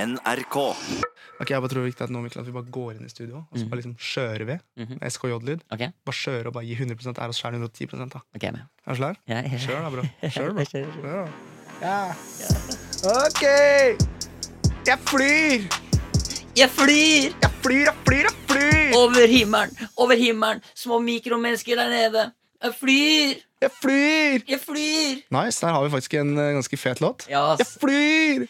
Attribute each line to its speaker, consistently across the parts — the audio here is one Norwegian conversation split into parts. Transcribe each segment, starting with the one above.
Speaker 1: NRK.
Speaker 2: Okej, jag bara tror det är viktigt att någon klass, vi bara går in i studio och så
Speaker 3: Mm.
Speaker 2: bara liksom kör vi
Speaker 3: Mhm.
Speaker 2: med SKJ-ljud.
Speaker 3: Okej.
Speaker 2: Bara kör och bara ger 100% är oss själva 110%. Då.
Speaker 3: Ok, med.
Speaker 2: Är du klar?
Speaker 3: Ja, ja.
Speaker 2: Kör då bro. Kör bro.
Speaker 3: Jeg kjører.
Speaker 2: Kör då. Ja. Okej! Jag flyr!
Speaker 3: Jeg flyr
Speaker 2: Jag flyr, jag flyr, jeg flyr!
Speaker 3: over himmelen, over himmelen. Små mikromennesker der nede. Jeg flyr,
Speaker 2: Jag flyr!
Speaker 3: jeg flyr.
Speaker 2: Nice, der har vi faktisk en eh, ganske fet låt.
Speaker 3: Ja,
Speaker 2: Jeg flyr!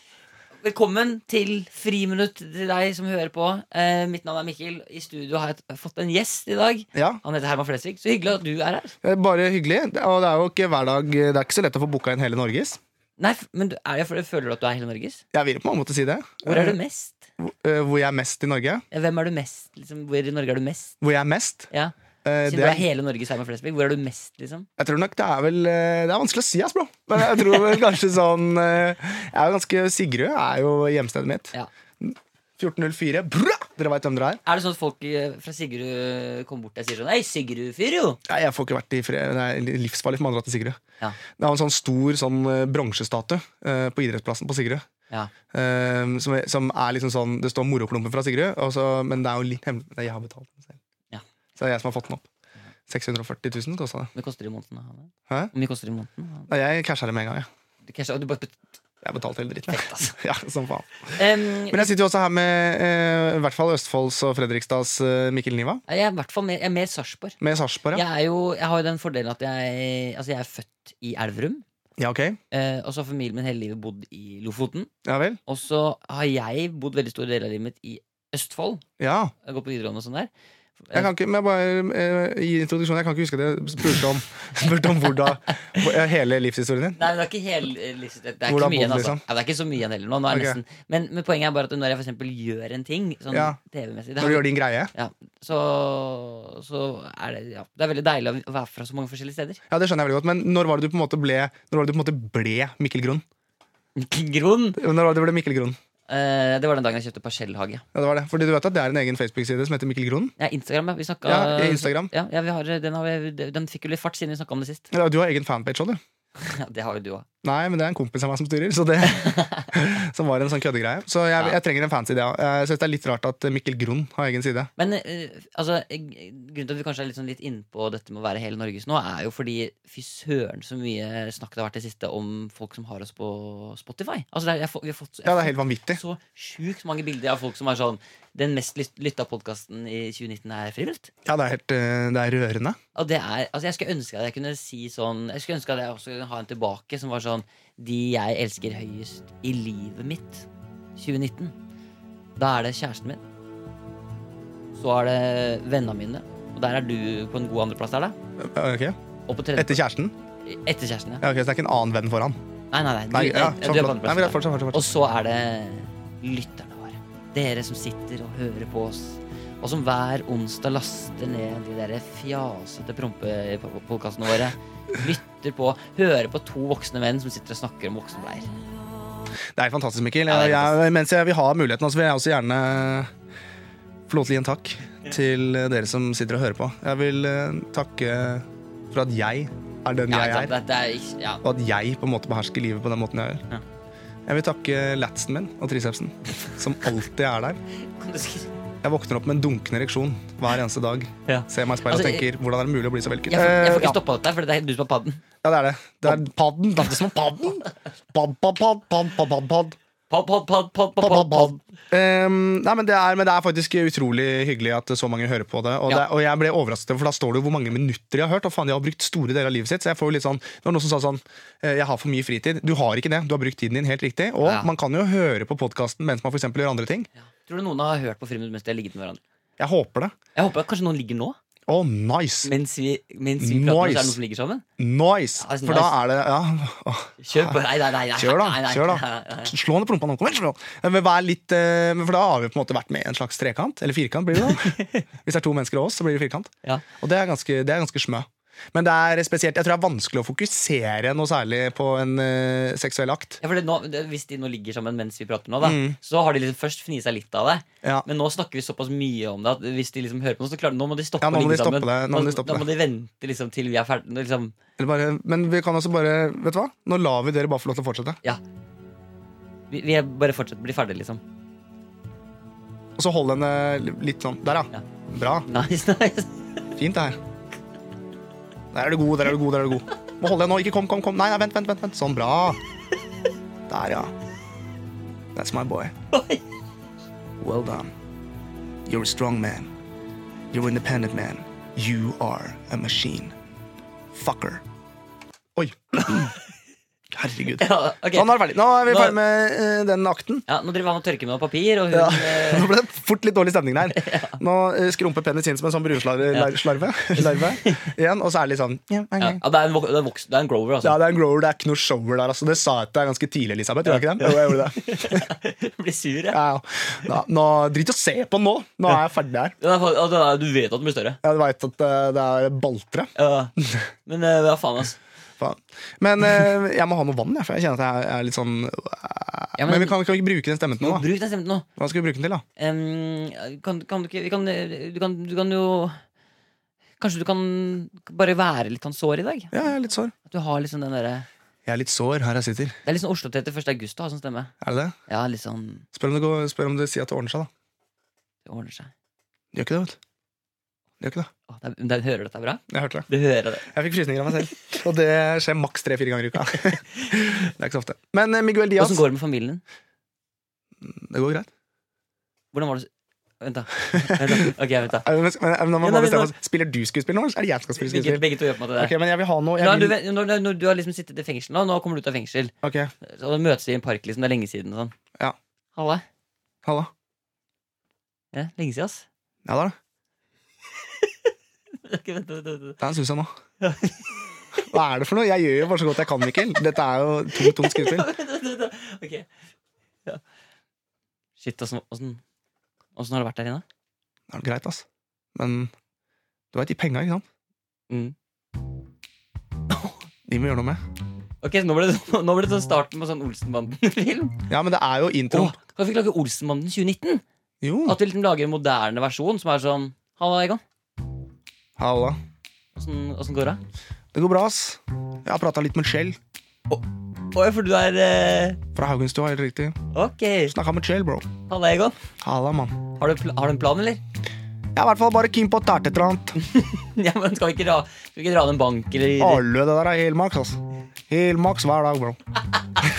Speaker 3: Velkommen til Friminutt til deg som hører på. Eh, mitt navn er Mikkel. I studio har jeg t- fått en gjest i dag.
Speaker 2: Ja,
Speaker 3: Han heter Herman Flesvig. Så hyggelig at du er her.
Speaker 2: eh, bare hyggelig. Det- Og det er jo ikke hver dag eh, Det er ikke så lett å få booka inn hele Norges.
Speaker 3: Nei, f- men du- er jeg, for- føler du at du er hele Norges?
Speaker 2: Jeg vil på en måte si det.
Speaker 3: Hvor er du mest?
Speaker 2: Eh, eh, Hvor jeg er mest i Norge.
Speaker 3: Hvem er du mest? Liksom, hvor i Norge er du mest?
Speaker 2: Hvor jeg er mest.
Speaker 3: Ja.
Speaker 2: Eh,
Speaker 3: Siden
Speaker 2: Det
Speaker 3: du er
Speaker 2: er,
Speaker 3: hele Norges Herman Flesvig, hvor er du mest, liksom?
Speaker 2: jeg tror nok det er vel eh, Det er vanskelig å si, ass, bro. Men jeg tror vel kanskje sånn eh, Jeg er jo ganske Sigrud er jo hjemstedet mitt.
Speaker 3: Ja.
Speaker 2: 1404. Bra! Dere veit hvem dere er.
Speaker 3: Er det sånn at folk eh, fra Sigrud kommer bort og sier sånn Hei, Sigrud-fyr, jo!
Speaker 2: Nei, Jeg får ikke vært i fred. Det er livsfarlig for meg å dra til Sigrud.
Speaker 3: Ja.
Speaker 2: Det er en sånn stor sånn eh, bronsestatue eh, på idrettsplassen på Sigrud.
Speaker 3: Ja.
Speaker 2: eh, som, som er liksom sånn Det står moroklumpen fra Sigrud, og så- men det er jo litt hemmelig. Nei, Jeg har betalt den selv.
Speaker 3: Ja.
Speaker 2: Så det er jeg som har fått den opp. 640 000 kosta det.
Speaker 3: Hvor mye koster det i måneden? å ha det?
Speaker 2: Hæ?
Speaker 3: Hvor mye koster det i måneden? å ha det?
Speaker 2: Nei, Jeg casha det med en gang. Jeg,
Speaker 3: Du, kanskje, du bare
Speaker 2: jeg betalte hele dritten.
Speaker 3: Fett, altså.
Speaker 2: Ja, som faen.
Speaker 3: Em,
Speaker 2: Men jeg sitter jo også her med eh, i hvert fall Østfolds og Fredrikstads eh, Mikkel Niva.
Speaker 3: jeg er i hvert fall mer, jeg er mer Sarpsborg.
Speaker 2: Med Sarpsborg, ja.
Speaker 3: Jeg, er jo, jeg har jo den fordelen at jeg, altså jeg er født i Elverum.
Speaker 2: ja. ok.
Speaker 3: eh, og så har familien min hele livet bodd i Lofoten.
Speaker 2: Ja vel.
Speaker 3: Og så har jeg bodd veldig stor del av livet mitt i Østfold.
Speaker 2: Ja.
Speaker 3: Jeg har gått på videregående og sånn der.
Speaker 2: Jeg kan ikke, men jeg bare eh, i introduksjonen, jeg kan ikke huske det. Spurte om, spurte om hvordan hvor- eh, hele livshistorien din.
Speaker 3: Nei, men det er ikke hel, eh, liksom, det
Speaker 2: Hvordan
Speaker 3: er ikke mye igjen,
Speaker 2: bodde,
Speaker 3: altså.
Speaker 2: liksom?
Speaker 3: Ja, det er ikke så mye igjen heller nå. nå er det
Speaker 2: Ok.
Speaker 3: nesten, men, men poenget er bare at når jeg for eksempel gjør en ting, sånn
Speaker 2: Ja.
Speaker 3: TV-messig, det
Speaker 2: Når du
Speaker 3: har-
Speaker 2: gjør din greie.
Speaker 3: ja, så, så er det ja, Det er veldig deilig å være fra så mange forskjellige steder.
Speaker 2: Ja, det skjønner jeg veldig godt, men når var det du på en måte ble Når var det du på en måte ble Mikkel Grunn?
Speaker 3: Grunn!
Speaker 2: Når var det du ble Mikkel Grunn?
Speaker 3: Eh, det var den dagen jeg kjøpte parsellhage.
Speaker 2: Ja, det var det. Fordi du vet at det er en egen Facebook-side som heter Mikkel Grunn?
Speaker 3: Ja, Instagram, ja. Vi snakka,
Speaker 2: Ja, i Instagram.
Speaker 3: Ja, ja, vi har, den, har vi, den fikk jo litt fart siden vi snakka om det sist.
Speaker 2: Ja, du har egen fanpage òg, du.
Speaker 3: Ja, det har jo du òg.
Speaker 2: Nei, men det er en kompis av meg som styrer, så det som var en sånn køddegreie. Så jeg,
Speaker 3: Ja.
Speaker 2: jeg trenger en fancy idé. Jeg synes det er litt rart at Mikkel Grunn har egen side.
Speaker 3: Men eh, altså, eh, grunnen til at vi kanskje er litt, sånn litt innpå dette med å være hele Norges nå, er jo fordi fy søren så mye snakk det har vært det siste om folk som har oss på Spotify. Altså, det er, jeg, får- vi har fått, jeg
Speaker 2: Ja, det
Speaker 3: har
Speaker 2: er helt vanvittig.
Speaker 3: fått så sjukt mange bilder av folk som er sånn Den mest lyt- lytta podkasten i 2019 er Frivillig.
Speaker 2: Ja, det er, helt, eh, det er rørende.
Speaker 3: Og det er, altså jeg skulle ønske at jeg kunne si sånn Jeg skulle ønske at jeg også kunne ha en tilbake som var sånn De jeg elsker høyest i livet mitt 2019 Da er det kjæresten min Så er det vennene mine Og der er du på en god andreplass der da
Speaker 2: Ok,
Speaker 3: Og på tredje
Speaker 2: Etter kjæresten?
Speaker 3: Etter kjæresten ja
Speaker 2: Ja, ok, så det er ikke en annen venn foran?
Speaker 3: Nei, nei, nei, du,
Speaker 2: Nei, ja,
Speaker 3: du
Speaker 2: sånn, flott.
Speaker 3: er på
Speaker 2: Nei, men greit,
Speaker 3: andreplass
Speaker 2: fortsett, fortsett,
Speaker 3: Og så er det lytterne våre Dere som sitter og hører på oss Og som hver onsdag laster ned De der fjasete prompepodkastene våre Lytter på Hører på to voksne menn som sitter og snakker om voksenbleier
Speaker 2: fortsett. Det er helt fantastisk, Mikkel.
Speaker 3: Ja, det er
Speaker 2: Jeg, jeg, mens jeg vil ha muligheten, så vil jeg også gjerne få lov til å gi en takk til eh, dere som sitter og hører på. Jeg vil eh, takke for at jeg er den
Speaker 3: Ja,
Speaker 2: jeg
Speaker 3: ikke
Speaker 2: er.
Speaker 3: sant? Det, det er ikke ja.
Speaker 2: Og at jeg på en måte behersker livet på den måten jeg gjør.
Speaker 3: Ja.
Speaker 2: Jeg vil takke latsen min og tricepsen, som alltid er der.
Speaker 3: Kan du skrive-
Speaker 2: Jeg våkner opp med en dunkende ereksjon hver eneste dag.
Speaker 3: Ja.
Speaker 2: Ser meg i speilet
Speaker 3: Altså,
Speaker 2: og tenker hvordan er det mulig å bli så
Speaker 3: jeg,
Speaker 2: velkut?
Speaker 3: får, jeg får
Speaker 2: Eh,
Speaker 3: ikke stoppa dette, for det er du som har padden
Speaker 2: ja. ja, det er det. Det er padden. Det er som padden. Pad, pad, pad, pad, pad, pad, pad.
Speaker 3: Padd, padd, padd, padd, padd,
Speaker 2: Pad,
Speaker 3: padd,
Speaker 2: pad, pad. Um, nei, men det, er, men det er faktisk utrolig hyggelig at så mange hører på det. Og,
Speaker 3: Ja.
Speaker 2: det, og jeg ble overrasket, for da står det jo hvor mange minutter jeg har hørt. Og faen, jeg har brukt store deler av livet sitt. Så jeg får jo litt sånn, det var noen som sa sånn eh, Jeg har for mye fritid. Du har ikke det. Du har brukt tiden din helt riktig. Og
Speaker 3: Ja.
Speaker 2: man kan jo høre på podkasten mens man for eksempel gjør andre ting.
Speaker 3: Ja. Tror du noen har hørt på Friminutt mens de har ligget med hverandre?
Speaker 2: Jeg håper det.
Speaker 3: Jeg håper at kanskje noen ligger nå
Speaker 2: Å, nice!
Speaker 3: Mens vi, mens vi prater, så er
Speaker 2: Nice.
Speaker 3: det noen som ligger sammen
Speaker 2: Nice!
Speaker 3: Ja, det er
Speaker 2: For da er det ja. Åh.
Speaker 3: Kjør på, nei, nei, nei, nei.
Speaker 2: Ah. Kjør da,
Speaker 3: Nei, nei,
Speaker 2: kjør da.
Speaker 3: nei, nei, nei.
Speaker 2: Slå ned prompa nå. Kom igjen, slå. Men vær litt, eh, men for da har vi på en måte vært med i en slags trekant. Eller firkant, blir det da. Hvis det er to mennesker og oss, så blir det firkant.
Speaker 3: Ja.
Speaker 2: Og det er ganske, det er ganske smø. Men det er spesielt, jeg tror det er vanskelig å fokusere noe særlig på en eh, seksuell akt.
Speaker 3: Ja, for det, nå, det, hvis de nå ligger sammen mens vi prater nå, da,
Speaker 2: Mm.
Speaker 3: så har de liksom først fnisa litt av det.
Speaker 2: Ja.
Speaker 3: Men nå snakker vi såpass mye om det at hvis de liksom hører på noe, så klarer, nå må de
Speaker 2: Ja,
Speaker 3: stoppe
Speaker 2: nå
Speaker 3: å
Speaker 2: må
Speaker 3: ligge
Speaker 2: de stoppe
Speaker 3: sammen.
Speaker 2: det, nå må de stoppe
Speaker 3: da må de vente liksom til vi er ferdige. Liksom.
Speaker 2: Eller bare, men vi kan også bare Vet du hva? Nå lar vi dere bare få lov til å fortsette.
Speaker 3: Ja. Vi, vi er bare fortsetter, blir ferdig, liksom.
Speaker 2: Og så hold henne litt sånn. Der,
Speaker 3: Ja.
Speaker 2: ja. Bra.
Speaker 3: Nice, nice.
Speaker 2: Fint, det her. Der er du god, der er du god, der er du god. Må holde deg nå. Ikke kom, kom, kom. Nei, nei, vent, vent, vent. vent. Sånn, bra. Der, ja. That's my boy.
Speaker 3: Oi.
Speaker 2: Well done. You're a strong man. You're an independent man. You are a machine. Fucker. Oi. Herregud.
Speaker 3: Ja, ok.
Speaker 2: Sånn, nå er det ferdig. Nå er vi
Speaker 3: Nå-
Speaker 2: ferdig med eh, den akten.
Speaker 3: Ja, nå driver han og tørker med noe papir, og hun
Speaker 2: Ja.
Speaker 3: eh,
Speaker 2: Nå ble det fort litt dårlig stemning der. Nå eh, skrumper penis inn som en sånn brunslarve lar- slarve, larve, igjen, og så er det litt sånn ja,
Speaker 3: ja.
Speaker 2: ok.
Speaker 3: ja, det, er en, vok- det, er en voks, det er en grower,
Speaker 2: Ja,
Speaker 3: altså.
Speaker 2: det er en grower, det er ikke noe shower der. Altså. Det sa jeg til deg ganske tidlig, Elisabeth. Gjorde jeg ikke det? Jo, jeg gjorde det.
Speaker 3: Blir sur, ja.
Speaker 2: Ja, ja. Nå, nå, drit i å se på den nå! Nå er jeg ferdig her.
Speaker 3: Den er fa- ja, den er- Du vet at den blir større.
Speaker 2: Jeg veit at eh, det er baltre.
Speaker 3: Ja. Men eh, hva faen, altså.
Speaker 2: Faen. Men eh, jeg må ha noe vann, jeg, for jeg kjenner at jeg er litt sånn
Speaker 3: Ja,
Speaker 2: men,
Speaker 3: men-
Speaker 2: vi kan, kan vi ikke bruke den stemmen til noe, da?
Speaker 3: Bruk den stemmen nå.
Speaker 2: Hva skal vi bruke den til, da?
Speaker 3: Em, kan, kan du ikke vi kan, du, kan, du kan jo Kanskje du kan bare være litt sånn sår i dag?
Speaker 2: Ja, jeg er litt sår.
Speaker 3: At du har liksom den derre
Speaker 2: Jeg er litt sår her jeg sitter.
Speaker 3: Det er litt sånn Oslo-tete 1. august å ha sånn stemme.
Speaker 2: Er det det?
Speaker 3: Ja, litt sånn
Speaker 2: Spør om det, går, spør om det sier at det ordner seg, da.
Speaker 3: Det ordner seg.
Speaker 2: Det Gjør ikke det, vet du. Det Gjør ikke det.
Speaker 3: Å, det, er- det, hører du dette bra?
Speaker 2: Jeg hørte det.
Speaker 3: Du hører det.
Speaker 2: Jeg fikk frysninger av meg selv. Og det skjer maks tre-fire ganger i uka. det er ikke så ofte. Men eh, Miguel Diaz
Speaker 3: Åssen går det med familien din?
Speaker 2: Det går greit.
Speaker 3: Hvordan var det s- Vent, da. Vent da. Ok, vent da.
Speaker 2: Er det- Men, eh, men, nå må
Speaker 3: Ja,
Speaker 2: vi
Speaker 3: nei,
Speaker 2: bare bestemme
Speaker 3: men-
Speaker 2: oss. Spiller du skuespill nå, eller er det jeg som skal spille
Speaker 3: Begge,
Speaker 2: skuespill?
Speaker 3: begge to gjør på en måte det.
Speaker 2: Ok, men jeg vil ha noe
Speaker 3: Nå, er
Speaker 2: jeg
Speaker 3: du,
Speaker 2: vil...
Speaker 3: ve- når, når du har liksom sittet i fengsel nå, nå kommer du ut av fengsel,
Speaker 2: Ok,
Speaker 3: og da møtes vi i en park, liksom, det er lenge siden og sånn.
Speaker 2: Ja.
Speaker 3: Halla.
Speaker 2: halla.
Speaker 3: Ja, lenge siden, ass.
Speaker 2: Ja da, det
Speaker 3: Ok, vent, vent, vent, vent.
Speaker 2: er en Susan nå. Hva er det for noe? Jeg gjør jo bare så godt jeg kan, Mikkel. Dette er jo tungt, tungt skuespill.
Speaker 3: Ja, vent, vent, vent. Ok. Ja. Shit, åssen åssen- åssen har det vært der inne?
Speaker 2: Det er jo greit, ass. Men du veit de penga, ikke sant?
Speaker 3: Mm.
Speaker 2: De må gjøre noe med.
Speaker 3: Ok, så Nå ble det, nå ble det sånn starten på sånn Olsenbanden-film.
Speaker 2: Ja, men det er jo intro.
Speaker 3: Åh, Kan vi ikke lage Olsenbanden 2019?
Speaker 2: Jo.
Speaker 3: At vi liksom lager en moderne versjon som er sånn Halla, Egon.
Speaker 2: Halla.
Speaker 3: Åssen åssen går det?
Speaker 2: Det går bra, ass. Jeg har prata litt med Kjell
Speaker 3: Å ja, for du er eh,
Speaker 2: fra Haugenstua, helt riktig.
Speaker 3: Ok.
Speaker 2: Snakka med Kjell, bro.
Speaker 3: Halla, Egon.
Speaker 2: Halla, mann.
Speaker 3: Har du, pl har du en plan, eller?
Speaker 2: Jeg er i hvert fall bare keen på å tæte et eller annet.
Speaker 3: ja, men Skal vi ikke dra, skal vi ikke dra ned en bank, eller
Speaker 2: Alle, det der er helmaks, altså. Helmaks hver dag, bro.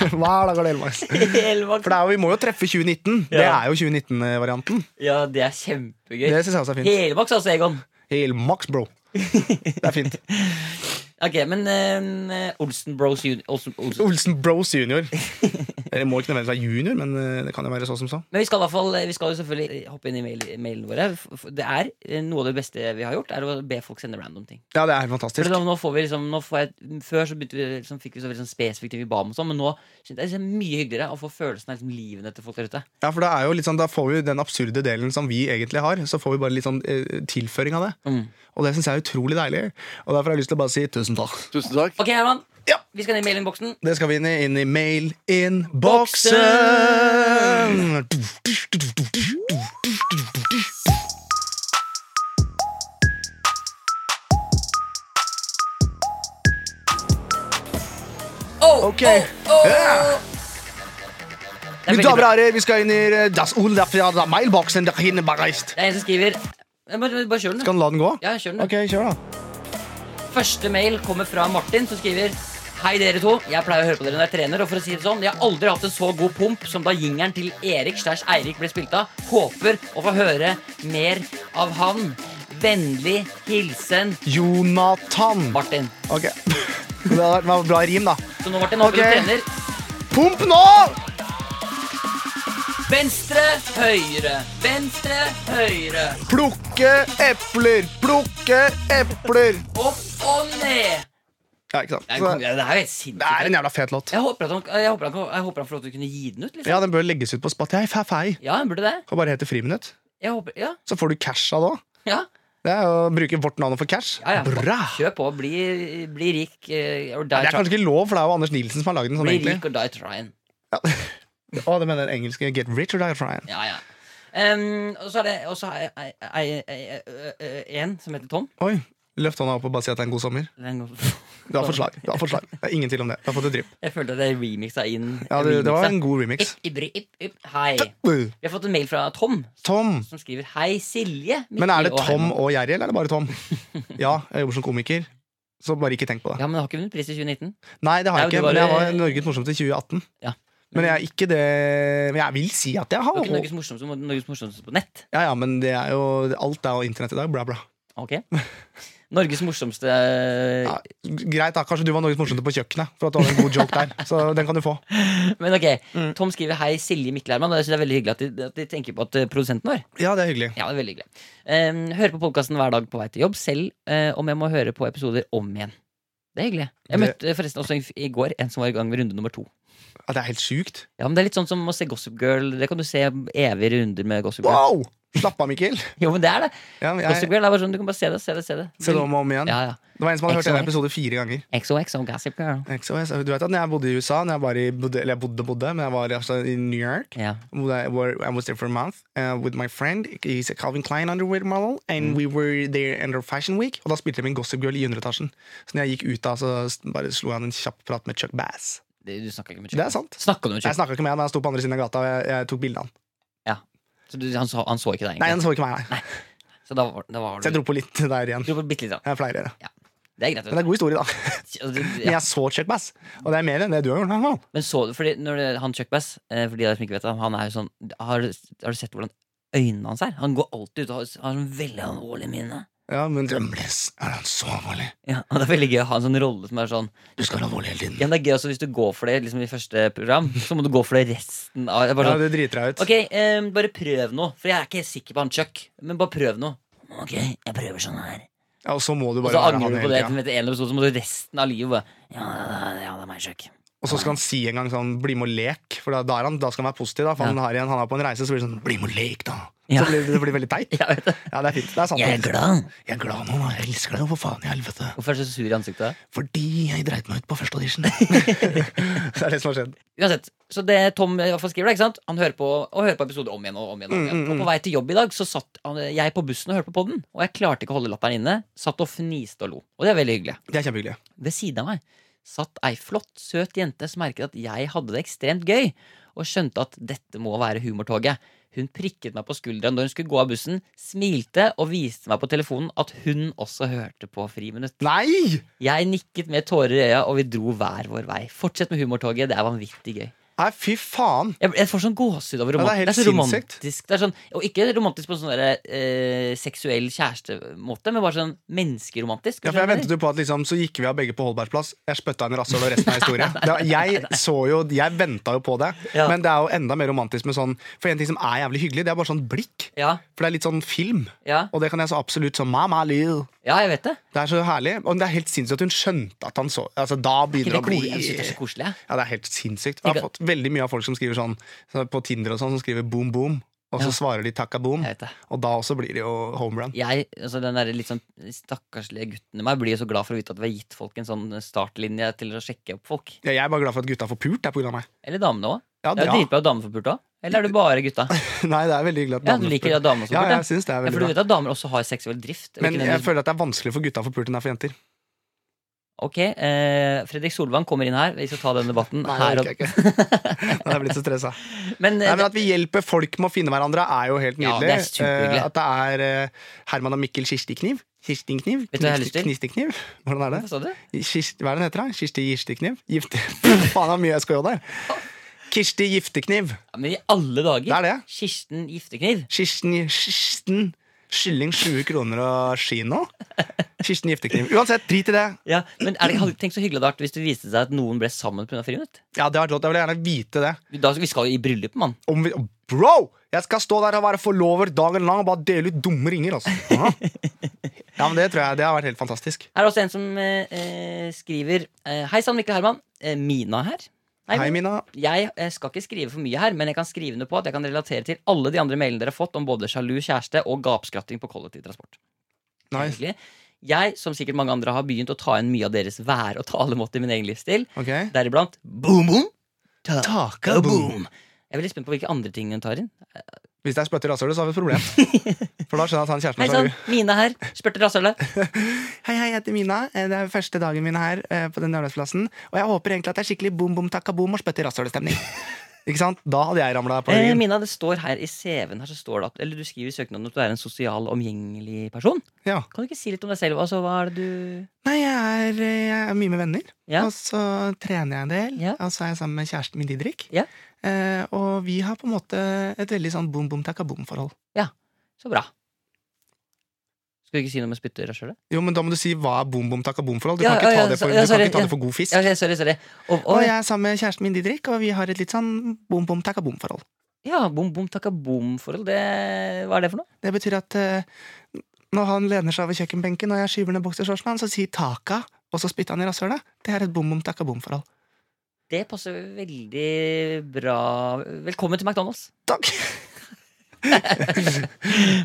Speaker 2: hver dag er det helmaks. For
Speaker 3: Helvaks.
Speaker 2: det er jo, vi må jo treffe 2019. Det
Speaker 3: Ja.
Speaker 2: er jo 2019-varianten.
Speaker 3: Ja, det er kjempegøy.
Speaker 2: Det syns jeg også er fint.
Speaker 3: Helvaks, altså, Egon.
Speaker 2: Helmaks, bro. Det er fint.
Speaker 3: Ok, men eh, Olsen Bros Junior Olsen, Olsen.
Speaker 2: Olsen Bros junior. Eller må ikke nødvendigvis være junior, men eh, det kan jo være så som så.
Speaker 3: Men vi skal, i hvert fall, eh, vi skal jo selvfølgelig hoppe inn i mail, mailene våre. F- f- Det er eh, Noe av det beste vi har gjort, er å be folk sende random ting.
Speaker 2: Ja, det er helt
Speaker 3: For
Speaker 2: fantastisk.
Speaker 3: da, nå får vi liksom, nå får jeg, Før så begynte vi, liksom, fikk vi så veldig sånn spesifikt det vi ba om, og sånn, men nå synes jeg det er liksom mye hyggeligere å få følelsen av liksom, livene til folk der ute.
Speaker 2: Ja, for det er jo litt sånn, Da får vi jo den absurde delen som vi egentlig har, så får vi bare litt sånn eh, tilføring av det.
Speaker 3: Mm.
Speaker 2: Og det syns jeg er utrolig deilig. Og derfor har jeg lyst til å bare si tusen takk.
Speaker 1: Tusen takk.
Speaker 3: Ok, Herman.
Speaker 2: Ja.
Speaker 3: Vi skal ned i mailinnboksen.
Speaker 2: Det skal vi inn i, inn i mail-in-boksen!
Speaker 3: Oh,
Speaker 2: Ok.
Speaker 3: oh, oh.
Speaker 2: Ja.
Speaker 3: Det er
Speaker 2: Mine
Speaker 3: veldig
Speaker 2: damer
Speaker 3: bra.
Speaker 2: og herrer, vi skal inn i eh, das Olafjada mailboksen. der inne bare reist.
Speaker 3: Det er en som skriver Jeg Bare, bare kjør den. du.
Speaker 2: Skal den la den gå?
Speaker 3: Ja, kjør den.
Speaker 2: Ok, kjør, da.
Speaker 3: Første mail kommer fra Martin, som skriver Hei, dere to. Jeg pleier å høre på dere når jeg trener. Og for å si det sånn, jeg har aldri hatt en så god pump som da jingeren til Erik slash Eirik ble spilt av. Håper å få høre mer av han. Vennlig hilsen
Speaker 2: Jonathan.
Speaker 3: Martin.
Speaker 2: Ok. Det var det var bra rim, da.
Speaker 3: Så nå, Martin,
Speaker 2: Ok.
Speaker 3: håper du trener.
Speaker 2: Pump nå!
Speaker 3: Venstre, høyre. Venstre, høyre.
Speaker 2: Plukke epler, plukke epler.
Speaker 3: Opp og ned.
Speaker 2: Ja, ikke sant.
Speaker 3: Det er,
Speaker 2: Så,
Speaker 3: det er jo helt
Speaker 2: det er
Speaker 3: sinnssykt.
Speaker 2: en jævla fet låt.
Speaker 3: Jeg håper, at han, jeg, håper han, jeg håper han får lov til å kunne gi den ut. Liksom.
Speaker 2: Ja, den bør legges ut på Spotify. Fei, fei.
Speaker 3: Ja, han burde det.
Speaker 2: Kan bare hete Friminutt.
Speaker 3: Jeg håper, ja,
Speaker 2: Så får du cash av det òg.
Speaker 3: ja.
Speaker 2: Det er å bruke vårt navn for cash.
Speaker 3: Ja, ja.
Speaker 2: Bra!
Speaker 3: Kjør på, bli, bli rik eh, or
Speaker 2: Det
Speaker 3: die
Speaker 2: er
Speaker 3: trying.
Speaker 2: kanskje ikke lov, for det er jo Anders Nilsen som har lagd den sånn,
Speaker 3: Bli
Speaker 2: egentlig.
Speaker 3: rik or die trying.
Speaker 2: Å, det mener den engelske Get rich or die trying.
Speaker 3: Ja, ja. Em, og så er det og så er jeg- jeg- jeg- jeg- ø- ø- en som heter Tom,
Speaker 2: Oi. Løft hånda opp og bare si at det er en god sommer.
Speaker 3: Det er en god-
Speaker 2: Du har forslag. Du har forslag. Det er ingen tvil om det. Du har fått et drypp.
Speaker 3: Jeg følte at jeg remixa inn.
Speaker 2: Ja, det, det var
Speaker 3: remixa.
Speaker 2: en god remix.
Speaker 3: Ip, ibri, ip, ip. Hei. Vi
Speaker 2: Uh,
Speaker 3: har fått en mail fra Tom,
Speaker 2: Tom.
Speaker 3: som skriver Hei, Silje. Mikkel
Speaker 2: Men er det
Speaker 3: og
Speaker 2: Tom
Speaker 3: Herman."
Speaker 2: og Jerry, eller er det bare Tom? Ja, jeg jobber som komiker, så bare ikke tenk på det.
Speaker 3: Ja, men du har ikke vunnet pris i 2019?
Speaker 2: Nei, det har jeg ikke, men
Speaker 3: Nei, men du
Speaker 2: jeg
Speaker 3: bare-
Speaker 2: var Norges morsomste i 2018.
Speaker 3: Ja.
Speaker 2: Men jeg er ikke det Men jeg vil si at jeg
Speaker 3: Du
Speaker 2: har
Speaker 3: er ikke Norges morsomste, du er Norges morsomste på nett.
Speaker 2: Ja, ja, men det er jo Alt er jo internett i dag. Bra, bra.
Speaker 3: Ok. Norges morsomste eh,
Speaker 2: Ja, greit, da. Kanskje du var Norges morsomste på kjøkkenet, for at du hadde en god joke der. Så den kan du få.
Speaker 3: Men ok,
Speaker 2: Mm.
Speaker 3: Tom skriver Hei, Silje Mikkel Herman. Og jeg synes det er veldig hyggelig at de, at de tenker på at eh, produsenten vår.
Speaker 2: Ja, det er hyggelig.
Speaker 3: Ja, det er veldig hyggelig Em, Hører på podkasten hver dag på vei til jobb, selv eh, om jeg må høre på episoder om igjen. Det er hyggelig.
Speaker 2: Det-
Speaker 3: Jeg møtte forresten også i- i går en som var i gang med runde nummer to.
Speaker 2: Ja, det er helt sjukt.
Speaker 3: Ja, men Det er litt sånn som å se Gossip Girl. Det kan du se evige runder med Gossip Girl.
Speaker 2: Wow! Slapp av, Mikkel.
Speaker 3: Jo, men det er det.
Speaker 2: Ja, men
Speaker 3: Gossip
Speaker 2: jeg,
Speaker 3: Girl er bare sånn, Du kan bare se det, se det, se det.
Speaker 2: se det om og om igjen.
Speaker 3: Ja, ja.
Speaker 2: Det var en som hadde hørt
Speaker 3: XOX.
Speaker 2: denne episoden fire ganger.
Speaker 3: XOXO Gossip Girl.
Speaker 2: XOS. Du vet at når jeg bodde i USA, når jeg var i, bodde, eller jeg bodde, bodde, men jeg var altså, i New York
Speaker 3: Ja.
Speaker 2: where I where I was there for a month uh, with my friend. He's a Calvin Klein underwear model, and we were there under Fashion Week. Og da spilte de en Gossip Girl i underetasjen. Så når jeg gikk ut da, så s- bare slo han en kjapp prat med Chuck Bass.
Speaker 3: Det, du snakka ikke med
Speaker 2: Det er sant.
Speaker 3: Snakka du med
Speaker 2: Jeg
Speaker 3: Chuck?
Speaker 2: snakka ikke med han, men han sto på andre siden av gata, og jeg, jeg tok bilde av han.
Speaker 3: Så du, han, så, han så ikke deg,
Speaker 2: Nei,
Speaker 3: egentlig?
Speaker 2: han så ikke meg, nei.
Speaker 3: Så da var, da var
Speaker 2: Så jeg
Speaker 3: du
Speaker 2: dro på litt der igjen.
Speaker 3: Du var bitte litt sånn.
Speaker 2: Jeg pleier å gjøre.
Speaker 3: Det er greit. vet altså,
Speaker 2: Men det er god historie, da.
Speaker 3: du. Og det-
Speaker 2: Men
Speaker 3: ja.
Speaker 2: jeg så Chuck Bass, og det er mer enn det du har gjort. i hvert fall.
Speaker 3: Men så du Fordi når det, han Chuck Bass, eh, for de av dere som ikke vet det, han er jo sånn Har, har du sett hvordan øynene hans er? Han går alltid ut og har, har sånn veldig alvorlig minne.
Speaker 2: Ja, men Drømles er han så alvorlig.
Speaker 3: Ja, og Det er veldig gøy å ha en sånn rolle som er sånn
Speaker 2: Du skal være alvorlig hele tiden.
Speaker 3: Ja, men det er gøy også hvis du går for det liksom, i første program, så må du gå for det resten av det er bare
Speaker 2: Ja,
Speaker 3: sånn,
Speaker 2: det driter deg ut.
Speaker 3: Ok, em, bare prøv noe, for jeg er ikke helt sikker på han Chuck, men bare prøv noe. Ok, jeg prøver sånn her.
Speaker 2: Ja, og så må du
Speaker 3: Og
Speaker 2: bare
Speaker 3: så
Speaker 2: være han
Speaker 3: angrer du
Speaker 2: hele
Speaker 3: på det
Speaker 2: tiden.
Speaker 3: etter en episode, så må du resten av livet bare Ja, ja, ja, det er meg, Chuck.
Speaker 2: Og så skal han si en gang sånn 'bli med og lek', for da, da, er han, da skal han være positiv. Da, for
Speaker 3: Ja.
Speaker 2: han, har igjen, han er på en reise, så blir det sånn 'bli med og lek', da.
Speaker 3: Ja.
Speaker 2: Så blir, det blir veldig teit.
Speaker 3: Jeg vet det.
Speaker 2: Ja, det er fint. Det er sant.
Speaker 3: Jeg er glad.
Speaker 2: Jeg er glad nå, da. jeg elsker deg jo, for faen i helvete.
Speaker 3: Hvorfor er du så sur i ansiktet?
Speaker 2: Fordi jeg dreit meg ut på første audition. det er det som har skjedd.
Speaker 3: Uansett, så det Tom i hvert fall skriver, da, ikke sant? han hører på, og hører på episoder om igjen og om igjen. Og, om igjen. og på vei til jobb i dag så satt han, jeg på bussen og hørte på podden, og jeg klarte ikke å holde latteren inne. Satt og fniste og lo. Og det er veldig hyggelig.
Speaker 2: Det er kjempehyggelig.
Speaker 3: Ved siden av meg satt ei flott, søt jente som merket at jeg hadde det ekstremt gøy, og skjønte at dette må være humortoget. Hun prikket meg på skulderen da hun skulle gå av bussen, smilte og viste meg på telefonen at hun også hørte på Friminutt.
Speaker 2: Nei!
Speaker 3: Jeg nikket med tårer i øya, og vi dro hver vår vei. Fortsett med humortoget, det er vanvittig gøy.
Speaker 2: Nei, fy faen!
Speaker 3: Jeg, jeg får sånn gåsehud over
Speaker 2: Ja, det er helt
Speaker 3: romantisk. det, er så
Speaker 2: sinnssykt.
Speaker 3: romantisk. Det er sånn, og ikke romantisk på en sånn der, eh, seksuell kjærestemåte, men bare sånn menneskeromantisk.
Speaker 2: Ja, for jeg ventet jo på at liksom, Så gikk vi av begge på Holbergs plass. Jeg spytta en rasshøl og resten av historien. Det, var- jeg så jo, jeg venta jo på det.
Speaker 3: Ja.
Speaker 2: Men det er jo enda mer romantisk med sånn For en ting som er jævlig hyggelig, det er bare sånn blikk.
Speaker 3: Ja,
Speaker 2: For det er litt sånn film.
Speaker 3: ja,
Speaker 2: Og det kan jeg så absolutt sånn Mama Lil.
Speaker 3: ja, jeg vet det.
Speaker 2: Det er så herlig. Og det er helt sinnssykt at hun skjønte at han så Altså, da begynner
Speaker 3: Hele
Speaker 2: det å bli
Speaker 3: kolen synes det er så koselig. jeg.
Speaker 2: Ja, det er helt sinnssykt. Jeg har fått veldig mye av folk som skriver sånn så på Tinder og sånn, som skriver boom, boom. Og så
Speaker 3: Ja.
Speaker 2: svarer de takka boom.
Speaker 3: Jeg vet det.
Speaker 2: Og da også blir det jo home run.
Speaker 3: Jeg, altså den der litt sånn stakkarslige gutten i meg blir jo så glad for å vite at vi har gitt folk en sånn startlinje til å sjekke opp folk.
Speaker 2: Ja, jeg er bare glad for at gutta får pult, det er på grunn av meg.
Speaker 3: Eller damene òg.
Speaker 2: Ja,
Speaker 3: Det er jo
Speaker 2: ja.
Speaker 3: dritbra at damer får pult òg. Eller er det bare gutta?
Speaker 2: Nei, det er veldig hyggelig at
Speaker 3: Ja, du
Speaker 2: damene
Speaker 3: liker
Speaker 2: får
Speaker 3: at damene får
Speaker 2: Ja,
Speaker 3: pult, ja.
Speaker 2: jeg synes det er
Speaker 3: Ja, for
Speaker 2: veldig
Speaker 3: du
Speaker 2: bra.
Speaker 3: vet at damer også har seksuell drift. og
Speaker 2: Men
Speaker 3: ikke
Speaker 2: jeg
Speaker 3: nødvendigvis-
Speaker 2: føler at det er vanskelig for gutta å få pult enn det er for jenter.
Speaker 3: Ok, eh, Fredrik Solvang kommer inn her. Vi skal ta den debatten
Speaker 2: Nei,
Speaker 3: her.
Speaker 2: det
Speaker 3: Og...
Speaker 2: orker jeg ikke. Da er jeg blitt så stressa.
Speaker 3: Men, eh,
Speaker 2: Nei, men At vi hjelper folk med å finne hverandre, er jo helt
Speaker 3: Ja,
Speaker 2: nydelig.
Speaker 3: det er superhyggelig.
Speaker 2: Eh, at det er eh, Herman og Mikkel Kirstikniv. Kirstikniv?
Speaker 3: Vet du hva jeg har lyst til?
Speaker 2: Knistekniv? Hvordan er det?
Speaker 3: Hva sa du?
Speaker 2: Kirst, hva er den heter da? Kirsti Gistekniv? Gifte... Faen, det er mye SKJ der. Kirsti Giftekniv.
Speaker 3: Ja, men i alle dager!
Speaker 2: Det er det.
Speaker 3: Kirsten Giftekniv.
Speaker 2: Kirsten Kirsten Skylling 20 kroner og kino. Kirsten Giftekniv. Uansett, drit i det.
Speaker 3: Ja, men er det, hadde, Tenk så hyggelig det hadde vært hvis det viste seg at noen ble sammen pga. friminutt.
Speaker 2: Ja, det har vært rått. Jeg vil gjerne vite det.
Speaker 3: Vi- Da, vi skal jo i bryllup, mann.
Speaker 2: Om vi... Bro! Jeg skal stå der og være forlover dagen lang og bare dele ut dumme ringer, altså. Ja, Ja, men det tror jeg. Det har vært helt fantastisk.
Speaker 3: Her er også en som eh, eh, skriver eh, Hei sann, Mikkel Herman. Eh, Mina her. Hei,
Speaker 2: Hei, Mina.
Speaker 3: Jeg eh, skal ikke skrive for mye her, men jeg kan skrive under på at jeg kan relatere til alle de andre mailene dere har fått om både sjalu kjæreste og gapskratting på kollektivtransport.
Speaker 2: Nice.
Speaker 3: Egentlig. Jeg, som sikkert mange andre, har begynt å ta inn mye av deres vær- og talemåte i min egen livsstil.
Speaker 2: Ok.
Speaker 3: Deriblant boom, boom,
Speaker 2: Taka boom.
Speaker 3: Jeg er veldig spent på hvilke andre ting hun tar inn.
Speaker 2: Hvis det er spytt i rasshølet, så har vi et problem. For da skjønner jeg at han kjæresten
Speaker 3: Hei sånn.
Speaker 2: min
Speaker 3: sann,
Speaker 2: sa,
Speaker 3: Mina her. Spurte rasshølet.
Speaker 2: Hei, hei, jeg heter Mina. Eh, Det er første dagen min her eh, på denne arbeidsplassen. Og jeg håper egentlig at det er skikkelig boom, boom, takka, boom og spytt i rasshølet-stemning. Ikke sant? Da hadde jeg ramla på
Speaker 3: Eh,
Speaker 2: ryggen.
Speaker 3: Mina, det står her i CV-en her så står det at Eller du skriver i søknaden at du er en sosial, omgjengelig person.
Speaker 2: Ja.
Speaker 3: Kan du ikke si litt om deg selv? Altså, hva er det du
Speaker 2: Nei, jeg er, eh, jeg er mye med venner.
Speaker 3: Ja.
Speaker 2: Og så trener jeg en del.
Speaker 3: Ja.
Speaker 2: Og så er jeg sammen med kjæresten min Didrik.
Speaker 3: Ja.
Speaker 2: Eh, og vi har på en måte et veldig sånn boom, boom, takka, boom-forhold.
Speaker 3: Så bra. Skal du ikke si noe med spytte i rasshølet?
Speaker 2: Jo, men da må du si hva er boom, boom, takka, boom-forhold. Du
Speaker 3: Ja,
Speaker 2: kan ikke
Speaker 3: ja,
Speaker 2: ta
Speaker 3: ja,
Speaker 2: det for,
Speaker 3: ja,
Speaker 2: du kan
Speaker 3: sorry,
Speaker 2: ikke ta
Speaker 3: ja.
Speaker 2: det for god fisk.
Speaker 3: Ja, ok, sorry, sorry. Og,
Speaker 2: Og
Speaker 3: og,
Speaker 2: jeg er sammen med kjæresten min Didrik, og vi har et litt sånn boom, boom, takka, boom-forhold.
Speaker 3: ja, bom, bom, takka bom-forhold. Det, hva er det for noe?
Speaker 2: Det betyr at eh, når han lener seg over kjøkkenbenken og jeg skyver ned boksershortsen hans, så sier taka, og så spytter han i rasshølet. Det er et boom, boom, takka, boom-forhold.
Speaker 3: Det passer veldig bra. Velkommen til McDonald's.
Speaker 2: Takk!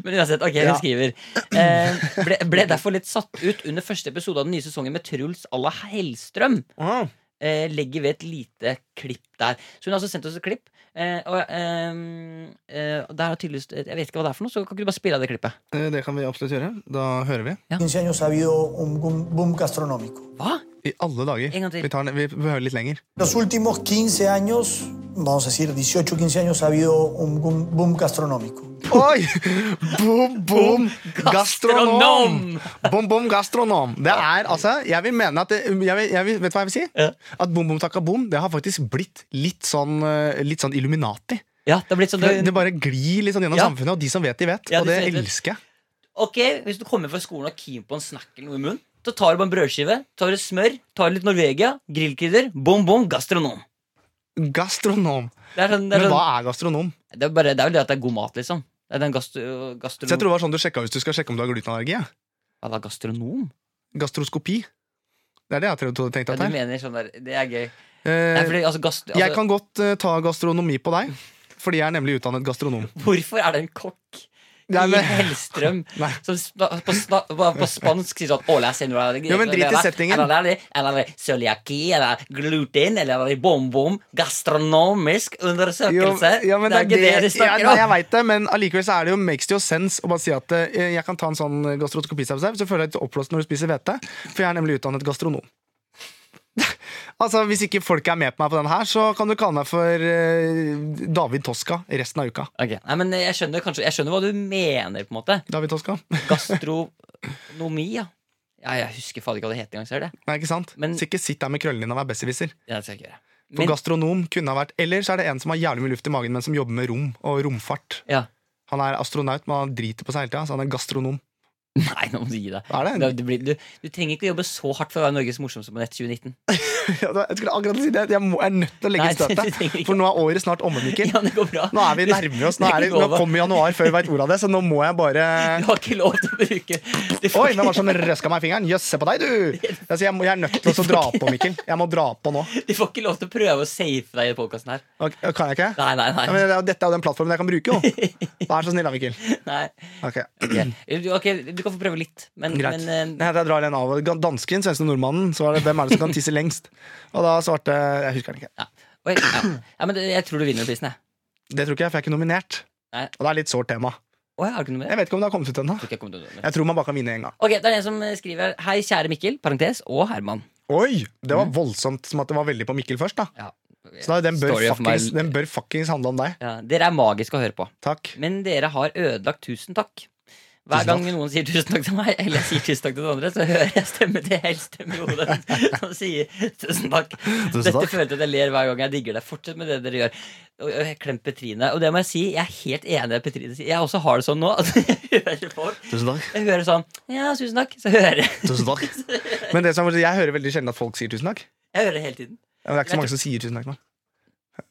Speaker 3: Men uansett, ok,
Speaker 2: Ja.
Speaker 3: hun skriver. Eh, ble, ble derfor litt satt ut under første episode av den nye sesongen med Truls à la Hellstrøm.
Speaker 2: Wow.
Speaker 3: eh, legger ved et lite klipp der. Så hun har altså sendt oss et klipp. Eh, og ehm, eh, og der har tydeligvis Jeg vet ikke hva det er for noe, så kan ikke du bare spille av det klippet?
Speaker 2: Eh, Det kan vi absolutt gjøre. Da hører vi.
Speaker 1: 15 años ha habido un boom, boom gastronómico.
Speaker 3: Hva?
Speaker 2: I alle dager.
Speaker 3: En gang til.
Speaker 2: Vi, tar, den- vi hører litt lenger.
Speaker 1: Los últimos 15 años, vamos a decir 18, 15 años, ha habido un boom, boom gastronómico.
Speaker 2: Oi! Bom, bom, gastronom!
Speaker 3: gastronom!
Speaker 2: Bom, bom, gastronom. Det er altså Jeg vil mene at det, jeg vil, jeg vil, Vet du hva jeg vil si?
Speaker 3: Ja.
Speaker 2: At bom, bom, takka, bom, det har faktisk blitt litt sånn, eh, litt sånn Illuminati.
Speaker 3: Ja, det har blitt sånn
Speaker 2: Det, det bare glir litt sånn gjennom
Speaker 3: Ja.
Speaker 2: samfunnet, og de som vet, de vet.
Speaker 3: Ja,
Speaker 2: og
Speaker 3: de
Speaker 2: det
Speaker 3: som vet, vet.
Speaker 2: elsker jeg.
Speaker 3: Ok, Hvis du kommer fra skolen og er keen på en snack eller noe i munnen, så tar du bare en brødskive, tar du smør, tar litt Norvegia, grillkrydder, bom, bom, gastronom.
Speaker 2: Gastronom.
Speaker 3: Det er, sånn, det,
Speaker 2: Men
Speaker 3: er
Speaker 2: hva
Speaker 3: sånn,
Speaker 2: er gastronom?
Speaker 3: det, er bare, det er vel det at det er god mat, liksom. Det er den gastro,
Speaker 2: Så jeg tror
Speaker 3: gastronom.
Speaker 2: det var sånn du sjekka hvis du skal sjekke om du har glutenallergi. Ja.
Speaker 3: Hva da, gastronom?
Speaker 2: Gastroskopi. Det er det jeg trodde- tenkte
Speaker 3: Ja,
Speaker 2: at
Speaker 3: du
Speaker 2: her.
Speaker 3: mener sånn der, Det er gøy. Nei,
Speaker 2: Eh,
Speaker 3: fordi, altså, gast, altså,
Speaker 2: jeg kan godt eh, ta gastronomi på deg, fordi jeg er nemlig utdannet gastronom.
Speaker 3: Hvorfor er det en kokk?
Speaker 2: Nei, men-
Speaker 3: I Hellstrøm
Speaker 2: Nei.
Speaker 3: Som spa- på, sna- på, på spansk sier sånn Hola, senora
Speaker 2: Jo, men drit i settingen.
Speaker 3: Eller er det, eller er det cøliaki, eller er det gluten, eller er det bom-bom Gastronomisk
Speaker 2: Jo,
Speaker 3: undersøkelse
Speaker 2: ja, men det er
Speaker 3: ikke det de
Speaker 2: det, ja,
Speaker 3: snakker
Speaker 2: nei, jeg
Speaker 3: om
Speaker 2: vet det, men allikevel så er det jo makes it your sense å bare si at eh, jeg kan ta en sånn gastroskopisaus, så føler jeg litt oppblåst når du spiser hvete, for jeg er nemlig utdannet gastronom. altså, Hvis ikke folk er med på meg på den her, så kan du kalle meg for eh, David Toska resten av uka.
Speaker 3: Ok, Nei, men jeg skjønner kanskje Jeg skjønner hva du mener på en måte
Speaker 2: David Toska.
Speaker 3: Gastronomi, ja Ja, jeg husker faen ikke hva det heter engang, ser du det?
Speaker 2: Nei, ikke sant?
Speaker 3: Men-
Speaker 2: så ikke sitt der med krøllene dine og vær besserwisser.
Speaker 3: Ja, det skal jeg ikke gjøre
Speaker 2: For gastronom kunne ha vært Eller så er det en som har jævlig mye luft i magen, men som jobber med rom og romfart.
Speaker 3: ja.
Speaker 2: Han er astronaut, men han driter på seg hele tida, så han er gastronom.
Speaker 3: Nei, nå må du gi deg
Speaker 2: Er det?
Speaker 3: Da- du, blir, du, du trenger ikke å jobbe så hardt for å være Norges morsomste på nett 2019
Speaker 2: Ja, da- Jeg skulle akkurat si det. Jeg må, er nødt til å legge Nei,
Speaker 3: Nei,
Speaker 2: støtet.
Speaker 3: du trenger ikke.
Speaker 2: For nå er året snart omme, Mikkel.
Speaker 3: Ja, det går bra
Speaker 2: Nå er vi nærmer oss. Nå, er det, nå kommer januar før vi veit ordet av det, så nå må jeg bare
Speaker 3: Du har ikke lov til å bruke du
Speaker 2: Oi,
Speaker 3: får ikke-
Speaker 2: hvem var det som røska meg i fingeren? Jøss, se på deg, du! Altså, jeg, må, jeg er nødt til å dra på, Mikkel. Jeg må dra på nå.
Speaker 3: De får ikke lov til å prøve å safe deg i podkasten her.
Speaker 2: Ok, Kan jeg ikke?
Speaker 3: Nei, nei,
Speaker 2: Ja,
Speaker 3: nei.
Speaker 2: men det er jo- dette er jo den plattformen jeg kan bruke, jo. Vær så snill, da, Mikkel.
Speaker 3: nei.
Speaker 2: Ok.
Speaker 3: Du, ok, du kan få prøve litt, men,
Speaker 2: Greit.
Speaker 3: men eh,
Speaker 2: Nei, jeg drar den av. Dansken, svensken og nordmannen. Så var det hvem er det som kan tisse lengst? Og da svarte Jeg husker den ikke.
Speaker 3: ja. Oi, ja. ja, men jeg tror du vinner prisen, jeg.
Speaker 2: Det tror ikke jeg, for jeg er ikke nominert.
Speaker 3: Nei.
Speaker 2: Og det er litt sårt tema.
Speaker 3: Å, jeg har ikke noe med det.
Speaker 2: Jeg vet ikke om det har kommet ut ennå.
Speaker 3: Jeg tror ikke jeg kommer til å gjøre det.
Speaker 2: Jeg tror man bare kan vinne én gang.
Speaker 3: Ok, Det er en som skriver Hei, kjære Mikkel, parentes, og Herman.
Speaker 2: Oi, Det var voldsomt som at det var veldig på Mikkel først. da
Speaker 3: Ja.
Speaker 2: Så da, den, bør
Speaker 3: Story of my-
Speaker 2: fuckings, den bør fuckings handle om deg.
Speaker 3: Ja, dere er magiske å høre på,
Speaker 2: Takk.
Speaker 3: men dere har ødelagt tusen takk. Hver
Speaker 2: Tusen
Speaker 3: gang
Speaker 2: takk.
Speaker 3: noen sier tusen takk til meg, eller jeg sier tusen takk til den andre, så hører jeg stemmen til Hellstrøm i hodet som sier tusen takk. Dette
Speaker 2: takk.
Speaker 3: føler jeg at jeg ler hver gang jeg digger det. Fortsett med det dere gjør. Og og jeg Klem Petrine. Og det må jeg si, jeg er helt enig med Petrine. sier. Jeg også har det sånn nå. at Jeg hører folk
Speaker 2: Tusen takk.
Speaker 3: Jeg hører sånn Ja, tusen takk. Så hører jeg
Speaker 2: Tusen takk. Men det som, er- jeg hører veldig sjelden at folk sier tusen takk.
Speaker 3: Jeg hører det hele tiden.
Speaker 2: Ja, men Det er ikke så mange som sier tusen takk. nå.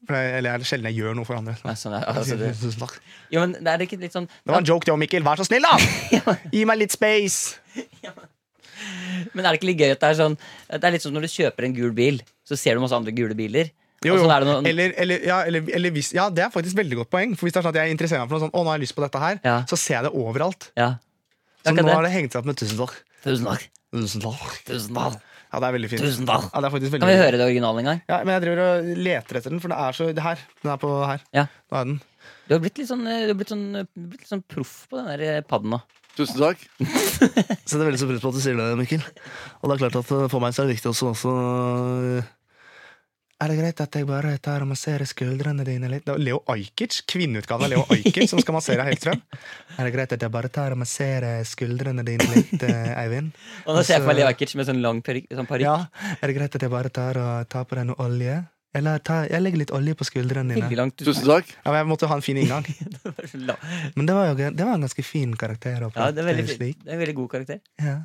Speaker 2: For jeg, eller jeg- sjelden jeg gjør noe for andre.
Speaker 3: Nei, sånn er, altså, det,
Speaker 2: Tusen takk.
Speaker 3: jo, men det er ikke litt sånn
Speaker 2: Det var en joke, det òg, Mikkel. Vær så snill, da! Gi meg litt space!
Speaker 3: Men er det ikke litt gøy at det er sånn Det er litt sånn når du kjøper en gul bil, så ser du masse andre gule biler.
Speaker 2: Jo,
Speaker 3: og
Speaker 2: jo.
Speaker 3: sånn er det noen,
Speaker 2: eller, eller, ja, eller, eller hvis, ja, det er faktisk veldig godt poeng. For hvis det er sånn at jeg interesserer meg for noe sånn, å, nå har jeg lyst på dette her,
Speaker 3: Ja.
Speaker 2: så ser jeg det overalt.
Speaker 3: ja.
Speaker 2: Så
Speaker 3: Akkurat
Speaker 2: nå
Speaker 3: det.
Speaker 2: har det hengt seg opp med tusen takk.
Speaker 3: Tusen takk.
Speaker 2: Tusen takk.
Speaker 3: Tusen takk.
Speaker 2: Ja, det er veldig fint.
Speaker 3: Tusen takk.
Speaker 2: Ja, det er faktisk veldig
Speaker 3: Kan vi
Speaker 2: fint.
Speaker 3: høre det originale en gang?
Speaker 2: Ja, men jeg driver og leter etter den, for det er så det her. Den er på her.
Speaker 3: Ja.
Speaker 2: Nå er den.
Speaker 3: Du har blitt litt sånn, eh, du har blitt sånn, eh, blitt litt sånn proff på den der eh, padden nå.
Speaker 4: Tusen takk.
Speaker 2: Så det er veldig så pris på at du sier det, Mikkel. Og det er klart at eh, for meg så er det viktig også, også eh, Er det greit at jeg bare tar og masserer skuldrene dine litt? Det var Leo Ajkic, kvinneutgaven av Leo Ajkic, som skal massere Hellstrøm. Er det greit at jeg bare tar og masserer skuldrene dine litt, eh, Eivind?
Speaker 3: Og nå ser jeg
Speaker 2: Altså-
Speaker 3: for meg Leo Ajkic med sånn lang parykk. Sånn parykk.
Speaker 2: Ja, er det greit at jeg bare tar og tar på deg noe olje? Eller ta, jeg legger litt olje på skuldrene dine.
Speaker 3: Veldig langt.
Speaker 4: Tusen takk.
Speaker 2: Ja, men jeg måtte ha en fin inngang.
Speaker 3: La-
Speaker 2: Men det var jo gøy- det var en ganske fin karakter. å
Speaker 3: Ja, det
Speaker 2: prate
Speaker 3: er veldig, fin-
Speaker 2: slik.
Speaker 3: det er en veldig god karakter.
Speaker 2: Ja,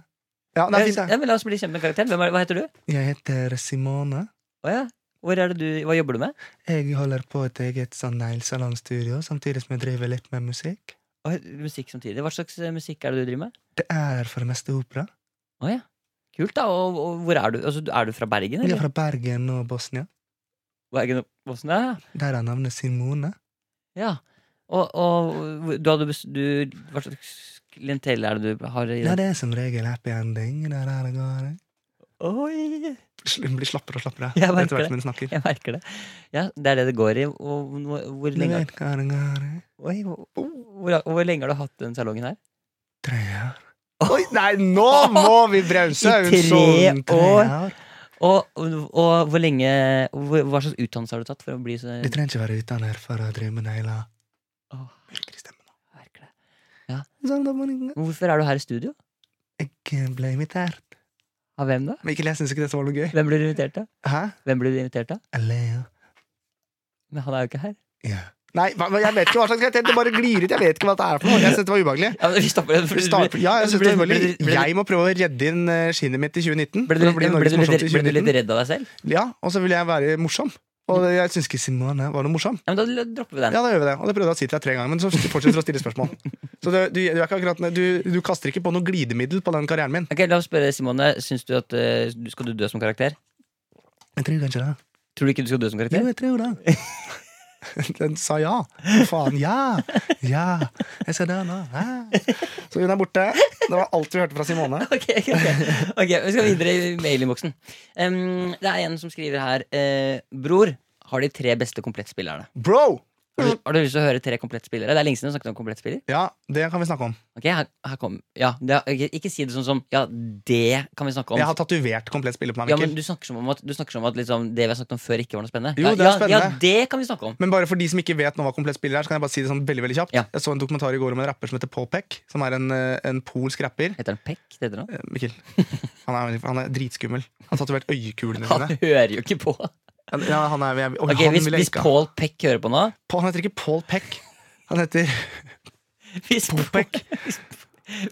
Speaker 2: ja det er fint,
Speaker 3: Ja,
Speaker 2: da.
Speaker 3: men la oss bli kjent med karakteren. Hvem er, hva heter du?
Speaker 2: Jeg heter Simone.
Speaker 3: Å ja. Hvor er det du, hva jobber du med?
Speaker 2: Jeg holder på et eget sånn neglesalongstudio, samtidig som jeg driver litt med musikk.
Speaker 3: Å, musikk samtidig. Hva slags eh, musikk er det du driver med?
Speaker 2: Det er for det meste opera.
Speaker 3: Å ja. Kult, da. Og, og hvor er du? Altså, er du fra Bergen,
Speaker 2: Jeg er
Speaker 3: eller?
Speaker 2: fra Bergen og Bosnia.
Speaker 3: Bergen og Bosnia? ja.
Speaker 2: Der er navnet Simone.
Speaker 3: Ja. Og, og du hadde bes... Du, hva slags klientell er det du har i
Speaker 2: Nei, det er som regel happy ending. Der er det går.
Speaker 3: Oi!
Speaker 2: Sl- Blir slappere og slappere
Speaker 3: Jeg merker
Speaker 2: etter hvert
Speaker 3: det.
Speaker 2: som hun snakker.
Speaker 3: Jeg merker det. Ja, det er det det går i. Og nå- hvor
Speaker 2: Du
Speaker 3: lenge,
Speaker 2: vet hva det går i.
Speaker 3: oi, hvor, hvor, hvor lenge har du hatt den salongen her?
Speaker 2: Tre år. Oi, nei, nå må vi bremse!
Speaker 3: I
Speaker 2: hun
Speaker 3: tre
Speaker 2: sånn
Speaker 3: år. Og, og, og hvor lenge hvor, Hva slags utdannelse har du tatt for å bli så
Speaker 2: Du trenger ikke være utdannet for å drive med negler.
Speaker 3: Åh,
Speaker 2: Virker i stemmen nå.
Speaker 3: merker det.
Speaker 2: Sånn, da må du-
Speaker 3: Hvorfor er du her i studio?
Speaker 2: Jeg ble invitert.
Speaker 3: Av hvem da?
Speaker 2: Mikkel, jeg syns ikke dette var noe gøy.
Speaker 3: Hvem ble du invitert av?
Speaker 2: Hæ?
Speaker 3: Hvem ble du invitert av?
Speaker 2: Leo.
Speaker 3: Men han er jo ikke her.
Speaker 2: Ja. Nei, hva- hva- jeg vet ikke hva slags Det bare glir ut. Jeg vet ikke hva det er for noe. Jeg synes det var ubehagelig.
Speaker 3: Ja, men vi stopper den.
Speaker 2: Vi starter- Ja, jeg synes det var
Speaker 3: ble,
Speaker 2: veldig
Speaker 3: ble,
Speaker 2: Jeg må prøve å redde inn eh, skinnet mitt i 2019.
Speaker 3: ble,
Speaker 2: for
Speaker 3: du-
Speaker 2: å bli
Speaker 3: ble,
Speaker 2: Norges
Speaker 3: du litt-
Speaker 2: morsomste i
Speaker 3: ble du litt
Speaker 2: 2019.
Speaker 3: redd av deg selv?
Speaker 2: Ja, og så vil jeg være morsom. Og det- jeg syns ikke Simone var noe morsom.
Speaker 3: Ja, men da dropper vi den.
Speaker 2: Ja, da gjør vi det. Og det prøvde jeg å si til deg tre ganger, men så fortsetter du å stille spørsmål. Så det, du, du, er ikke akkurat, du, du kaster ikke på noe glidemiddel på den karrieren min.
Speaker 3: Ok, La oss spørre Simone. Syns du at eh, du- Skal du dø som karakter?
Speaker 2: Jeg tror kanskje det.
Speaker 3: Tror du ikke du skal dø som
Speaker 2: Jo,
Speaker 3: karakter?
Speaker 2: jeg tror det. Den sa ja. Faen, ja! Ja! Jeg skal dø nå. Ja. Så hun er borte. Det var alt vi hørte fra Simone.
Speaker 3: Ok, ok, ok. Ok, Vi skal videre i mailinnboksen. Um, det er en som skriver her. eh, Bror, har de tre beste komplettspillerne?
Speaker 2: Bro!
Speaker 3: Har
Speaker 2: Mm.
Speaker 3: du, har du lyst til å høre tre komplettspillere? Det er lenge siden du snakket om komplettspiller.
Speaker 2: Ja, det kan vi snakke om.
Speaker 3: Ok, her, her kom Ja, det, ok, Ikke si det sånn som Ja, det kan vi snakke om.
Speaker 2: Jeg har tatovert komplett spillet på meg,
Speaker 3: Ja,
Speaker 2: Mikkel.
Speaker 3: men Du snakker som om at, du snakker som om at liksom, det vi har snakket om før, ikke var noe spennende.
Speaker 2: Jo,
Speaker 3: ja,
Speaker 2: det er
Speaker 3: ja,
Speaker 2: spennende.
Speaker 3: Ja, det kan vi snakke om.
Speaker 2: Men bare for de som ikke vet nå hva komplett spill er, så kan jeg bare si det sånn veldig, veldig kjapt.
Speaker 3: Ja.
Speaker 2: Jeg så en dokumentar i går om en rapper som heter Paul Peck, som er en, eh, en polsk rapper.
Speaker 3: Heter han Peck? Det heter han.
Speaker 2: Eh, Mikkel, han er, han er dritskummel. Han har tatovert øyekulene
Speaker 3: Han
Speaker 2: sine.
Speaker 3: hører jo ikke på.
Speaker 2: Ja, han er, jeg, og
Speaker 3: Ok,
Speaker 2: han
Speaker 3: Hvis,
Speaker 2: vil jeg
Speaker 3: hvis
Speaker 2: ikke ha.
Speaker 3: Paul Peck hører på nå
Speaker 2: Paul- Han heter ikke Paul Peck. Han heter
Speaker 3: Hvis Paul
Speaker 2: Peck.
Speaker 3: Hvis,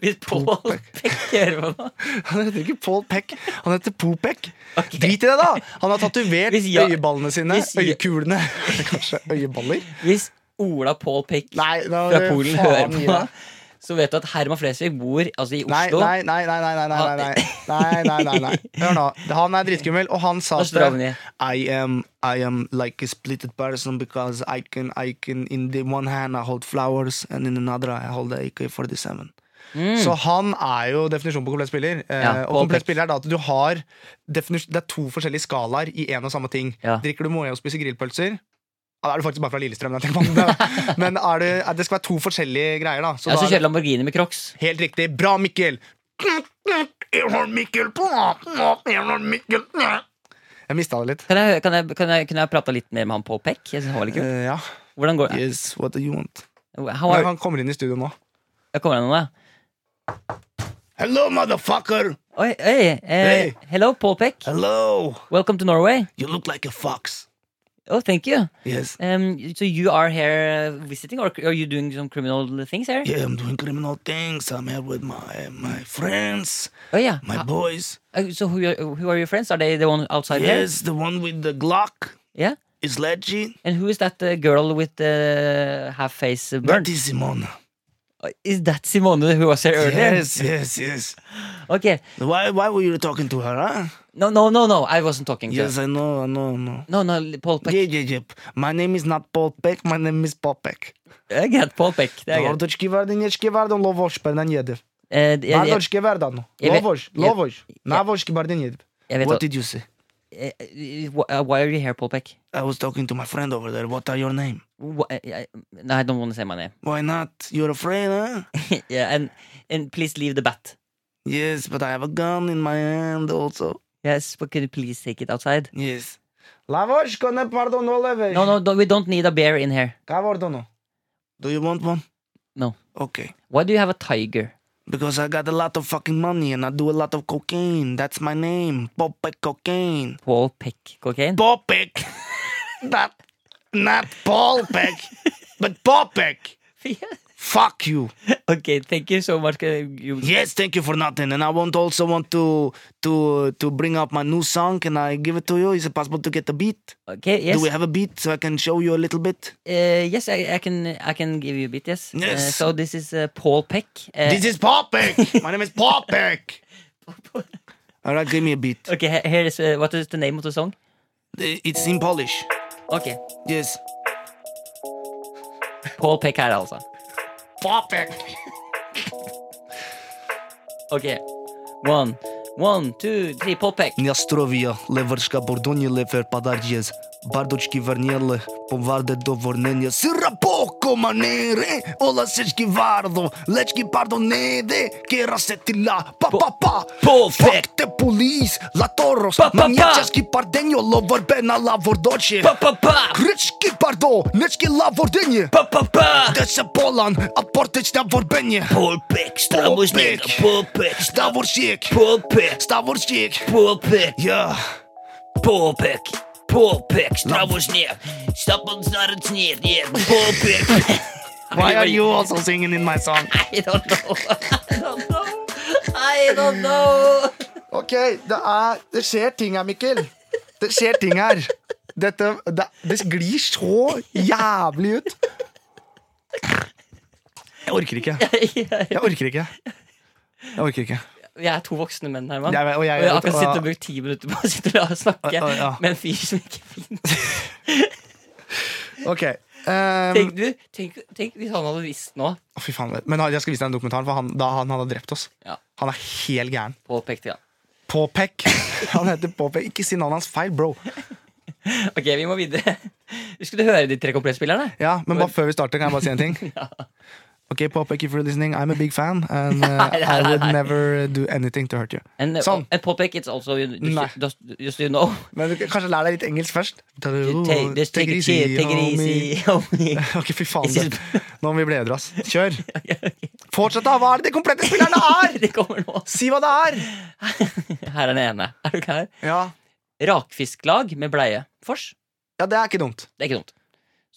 Speaker 3: hvis Paul
Speaker 2: Paul Peck.
Speaker 3: Peck hører på nå
Speaker 2: Han heter ikke Paul Peck, han heter Popek.
Speaker 3: Ok.
Speaker 2: Drit i det, da! Han har tatovert
Speaker 3: Hvis jeg-
Speaker 2: øyeballene sine.
Speaker 3: hvis jeg-
Speaker 2: Øyekulene. Kanskje øyeballer?
Speaker 3: Hvis Ola Paul Peck
Speaker 2: Nei, da,
Speaker 3: fra Polen hører
Speaker 2: i
Speaker 3: på,
Speaker 2: det.
Speaker 3: så vet du at Herman Flesvig bor altså, i
Speaker 2: Nei,
Speaker 3: Oslo.
Speaker 2: nei, nei, nei, nei, nei, nei, nei, nei, nei, nei, nei. Hør nå, han er dritskummel, og han sa
Speaker 3: Da slår vi
Speaker 2: at uh,
Speaker 3: ned.
Speaker 2: I am, I am like a splitted person because I can, I can In the one hand I hold flowers And in another I hold AK-47 Så han er jo definisjonen på komplett spiller eh,
Speaker 3: Mm. Ja,
Speaker 2: Og
Speaker 3: Paul Peck.
Speaker 2: komplett spiller er da at du har definis- Det er to forskjellige skalaer i en og samme ting
Speaker 3: Ja.
Speaker 2: Drikker du moe og spiser grillpølser ja, Da er du faktisk bare fra Lillestrøm da, tenker man. Men er du, eh, det skal være to forskjellige greier da
Speaker 3: Ja,
Speaker 2: da
Speaker 3: så
Speaker 2: er-
Speaker 3: kjører Lamborghini med Crocs.
Speaker 2: Helt riktig. Bra, Mikkel! Jeg har Mikkel på Jeg har Mikkel Jeg mista det litt.
Speaker 3: Kan jeg, kan jeg, kan jeg, kan jeg prate litt mer med han Paul Peck? Jeg synes han var litt kul.
Speaker 2: Eh, ja.
Speaker 3: Hvordan går det?
Speaker 2: Yes, what do you want?
Speaker 3: How are,
Speaker 2: han kommer inn i studio nå.
Speaker 3: jeg kommer han nå? ja?
Speaker 2: Hello, motherfucker!
Speaker 3: Oi, oi, eh,
Speaker 2: Hey.
Speaker 3: hello, Paul Peck.
Speaker 2: Hello!
Speaker 3: Welcome to Norway.
Speaker 2: You look like a fox.
Speaker 3: Oh, thank you.
Speaker 2: Yes.
Speaker 3: Um, so you are here uh, visiting, or are you doing some criminal things here?
Speaker 2: Yeah, I'm doing criminal things. I'm here with my my friends,
Speaker 3: Oh yeah.
Speaker 2: my
Speaker 3: Uh,
Speaker 2: boys.
Speaker 3: uh, so who are, who are your friends? Are they the one outside here?
Speaker 2: Yes, the one with the Glock
Speaker 3: Yeah.
Speaker 2: is Leggy.
Speaker 3: And who is that uh, girl with the half face uh, burn?
Speaker 2: That is Simona.
Speaker 3: Uh, Is that Simone who was here earlier?
Speaker 2: Yes, yes, yes.
Speaker 3: Okay.
Speaker 2: Why why were you talking to her, huh?
Speaker 3: No, no, no, no. I wasn't talking to
Speaker 2: Yes, I know, I know, I know.
Speaker 3: No, no, l- Paul Peck.
Speaker 2: Yeah, yeah, yeah. My name is not Paul Peck, my name is Popek.
Speaker 3: Det er greit. Paul Peck. Det er greit.
Speaker 2: Lordoczki Verdin, Jeczki Verdin, Lovosh, Bernan Jedv.
Speaker 3: Eh, d- jeg, jeg,
Speaker 2: Bardoczki Verdin,
Speaker 3: Ja, ja.
Speaker 2: Lovosh, Lovosh,
Speaker 3: Ja.
Speaker 2: Navoshki Berdin Jedv.
Speaker 3: jeg vet
Speaker 2: What
Speaker 3: hva
Speaker 2: did you say?
Speaker 3: eh, eh, wh- uh, Why are you here, Paul Peck?
Speaker 2: I was talking to my friend over there. What are your name?
Speaker 3: Wh- eh, eh, no, I don't want to say my name.
Speaker 2: Why not? You're afraid, huh?
Speaker 3: yeah, and and please leave the bat.
Speaker 2: Yes, but I have a gun in my hand also.
Speaker 3: Yes, but can you please take it outside?
Speaker 2: Yes. Lavo, shkone pardon oleve.
Speaker 3: No, no, don't, we don't need a bear in here.
Speaker 2: Ka vardonu. Do you want one?
Speaker 3: No.
Speaker 2: Okay.
Speaker 3: Why do you have a tiger?
Speaker 2: Because I got a lot of fucking money and I do a lot of cocaine. That's my name. Popek cocaine.
Speaker 3: Paul Peck cocaine?
Speaker 2: Popek. not, not Paul Peck, but Popek. Fuck you.
Speaker 3: okay, thank you so much. Can You,
Speaker 2: Yes, thank you for nothing. And I want also want to to to bring up my new song. Can I give it to you? Is it possible to get a beat?
Speaker 3: okay, yes.
Speaker 2: Do we have a beat so I can show you a little bit?
Speaker 3: Uh, yes, I, I can. I can give you a bit. Yes. Uh,
Speaker 2: Yes.
Speaker 3: so this is uh, Paul Peck. Uh,
Speaker 2: This is Popek. my name is Popek. All right, give me a beat.
Speaker 3: okay. he- Here is uh, what is the name of the song?
Speaker 2: It's in Polish.
Speaker 3: Okay,
Speaker 2: Yes.
Speaker 3: Paul Peck her altså.
Speaker 2: Popek.
Speaker 3: Okay. One, one, two, three. Paul Peck.
Speaker 2: Njastrovia, levrška bordonie, lever padarjes, bardočki vrnjele, povarde po do vrnenja, sira poko manere, ola sečki vardo, lečki pardo nede, kera se tila, pa pa pa,
Speaker 3: po-
Speaker 2: fuck te polis, la toros,
Speaker 3: Pa, pa, pa.
Speaker 2: manjačaski pardenjo, lover bena la vordoče,
Speaker 3: Pa pa pa.
Speaker 2: krički pardo, nečki la vordenje,
Speaker 3: Pa pa pa.
Speaker 2: da se bolan, a porteč na vorbenje,
Speaker 3: Paul Peck. Stramos
Speaker 2: Paul
Speaker 3: ned.
Speaker 2: Peck.
Speaker 3: Paul Peck.
Speaker 2: stavoršik,
Speaker 3: Paul Peck.
Speaker 2: stavoršik,
Speaker 3: Paul Peck.
Speaker 2: ja.
Speaker 3: Paul Peck. Paul Peck. Stramos ned. Stapp ons naar het neer. Yeah. Paul Peck.
Speaker 2: Why are you also singing in my song?
Speaker 3: I don't know. I don't know. I don't know.
Speaker 2: Ok, det, er, det skjer ting her, Mikkel. Det skjer ting her. Dette, det, det glir så jævlig ut. Jeg orker ikke. Jeg orker ikke. Jeg orker ikke.
Speaker 3: Vi er to voksne menn, Herman.
Speaker 2: Jeg vet- og jeg-
Speaker 3: og jeg har akkurat
Speaker 2: og-
Speaker 3: sittet og brukt ti minutter på å sitte og snakke
Speaker 2: Og- og- ja.
Speaker 3: med en fyr som ikke finnes.
Speaker 2: Ok. ehm,
Speaker 3: Tenk, du, tenk, tenk hvis han hadde visst nå.
Speaker 2: å, fy faen, men jeg skal vise deg en dokumentar for han, da han hadde drept oss.
Speaker 3: Ja,
Speaker 2: Han er helt gæren.
Speaker 3: påpekte ja.
Speaker 2: Påpek. Han heter Påpek. Ikke si navnet hans feil, bro.
Speaker 3: Ok, vi må videre. Husker du høre de tre komplettspillerne?
Speaker 2: Ja, Men bare før vi starter, kan jeg bare si en ting? Ok, Påpek, if you're listening, I'm a big fan, and uh,
Speaker 3: Nei, nei,
Speaker 2: I would
Speaker 3: nei, nei.
Speaker 2: never do anything to hurt you.
Speaker 3: And,
Speaker 2: Sånn.
Speaker 3: and påpek, it's also you,
Speaker 2: Nei.
Speaker 3: just, just, just you know.
Speaker 2: Men du, kanskje lær deg litt engelsk først.
Speaker 3: You take, just take, it easy, take it easy, homie.
Speaker 2: Ok, fy faen.
Speaker 3: This is-
Speaker 2: du. Nå må vi bli edru, ass. Kjør. Fortsett, da. Hva er det de komplette spillerne er?
Speaker 3: Det kommer nå.
Speaker 2: Si hva det er!
Speaker 3: Her er den ene. Er du klar?
Speaker 2: Ja,
Speaker 3: Rakfisklag med bleie. Fors.
Speaker 2: ja det er ikke dumt.
Speaker 3: Det er ikke dumt.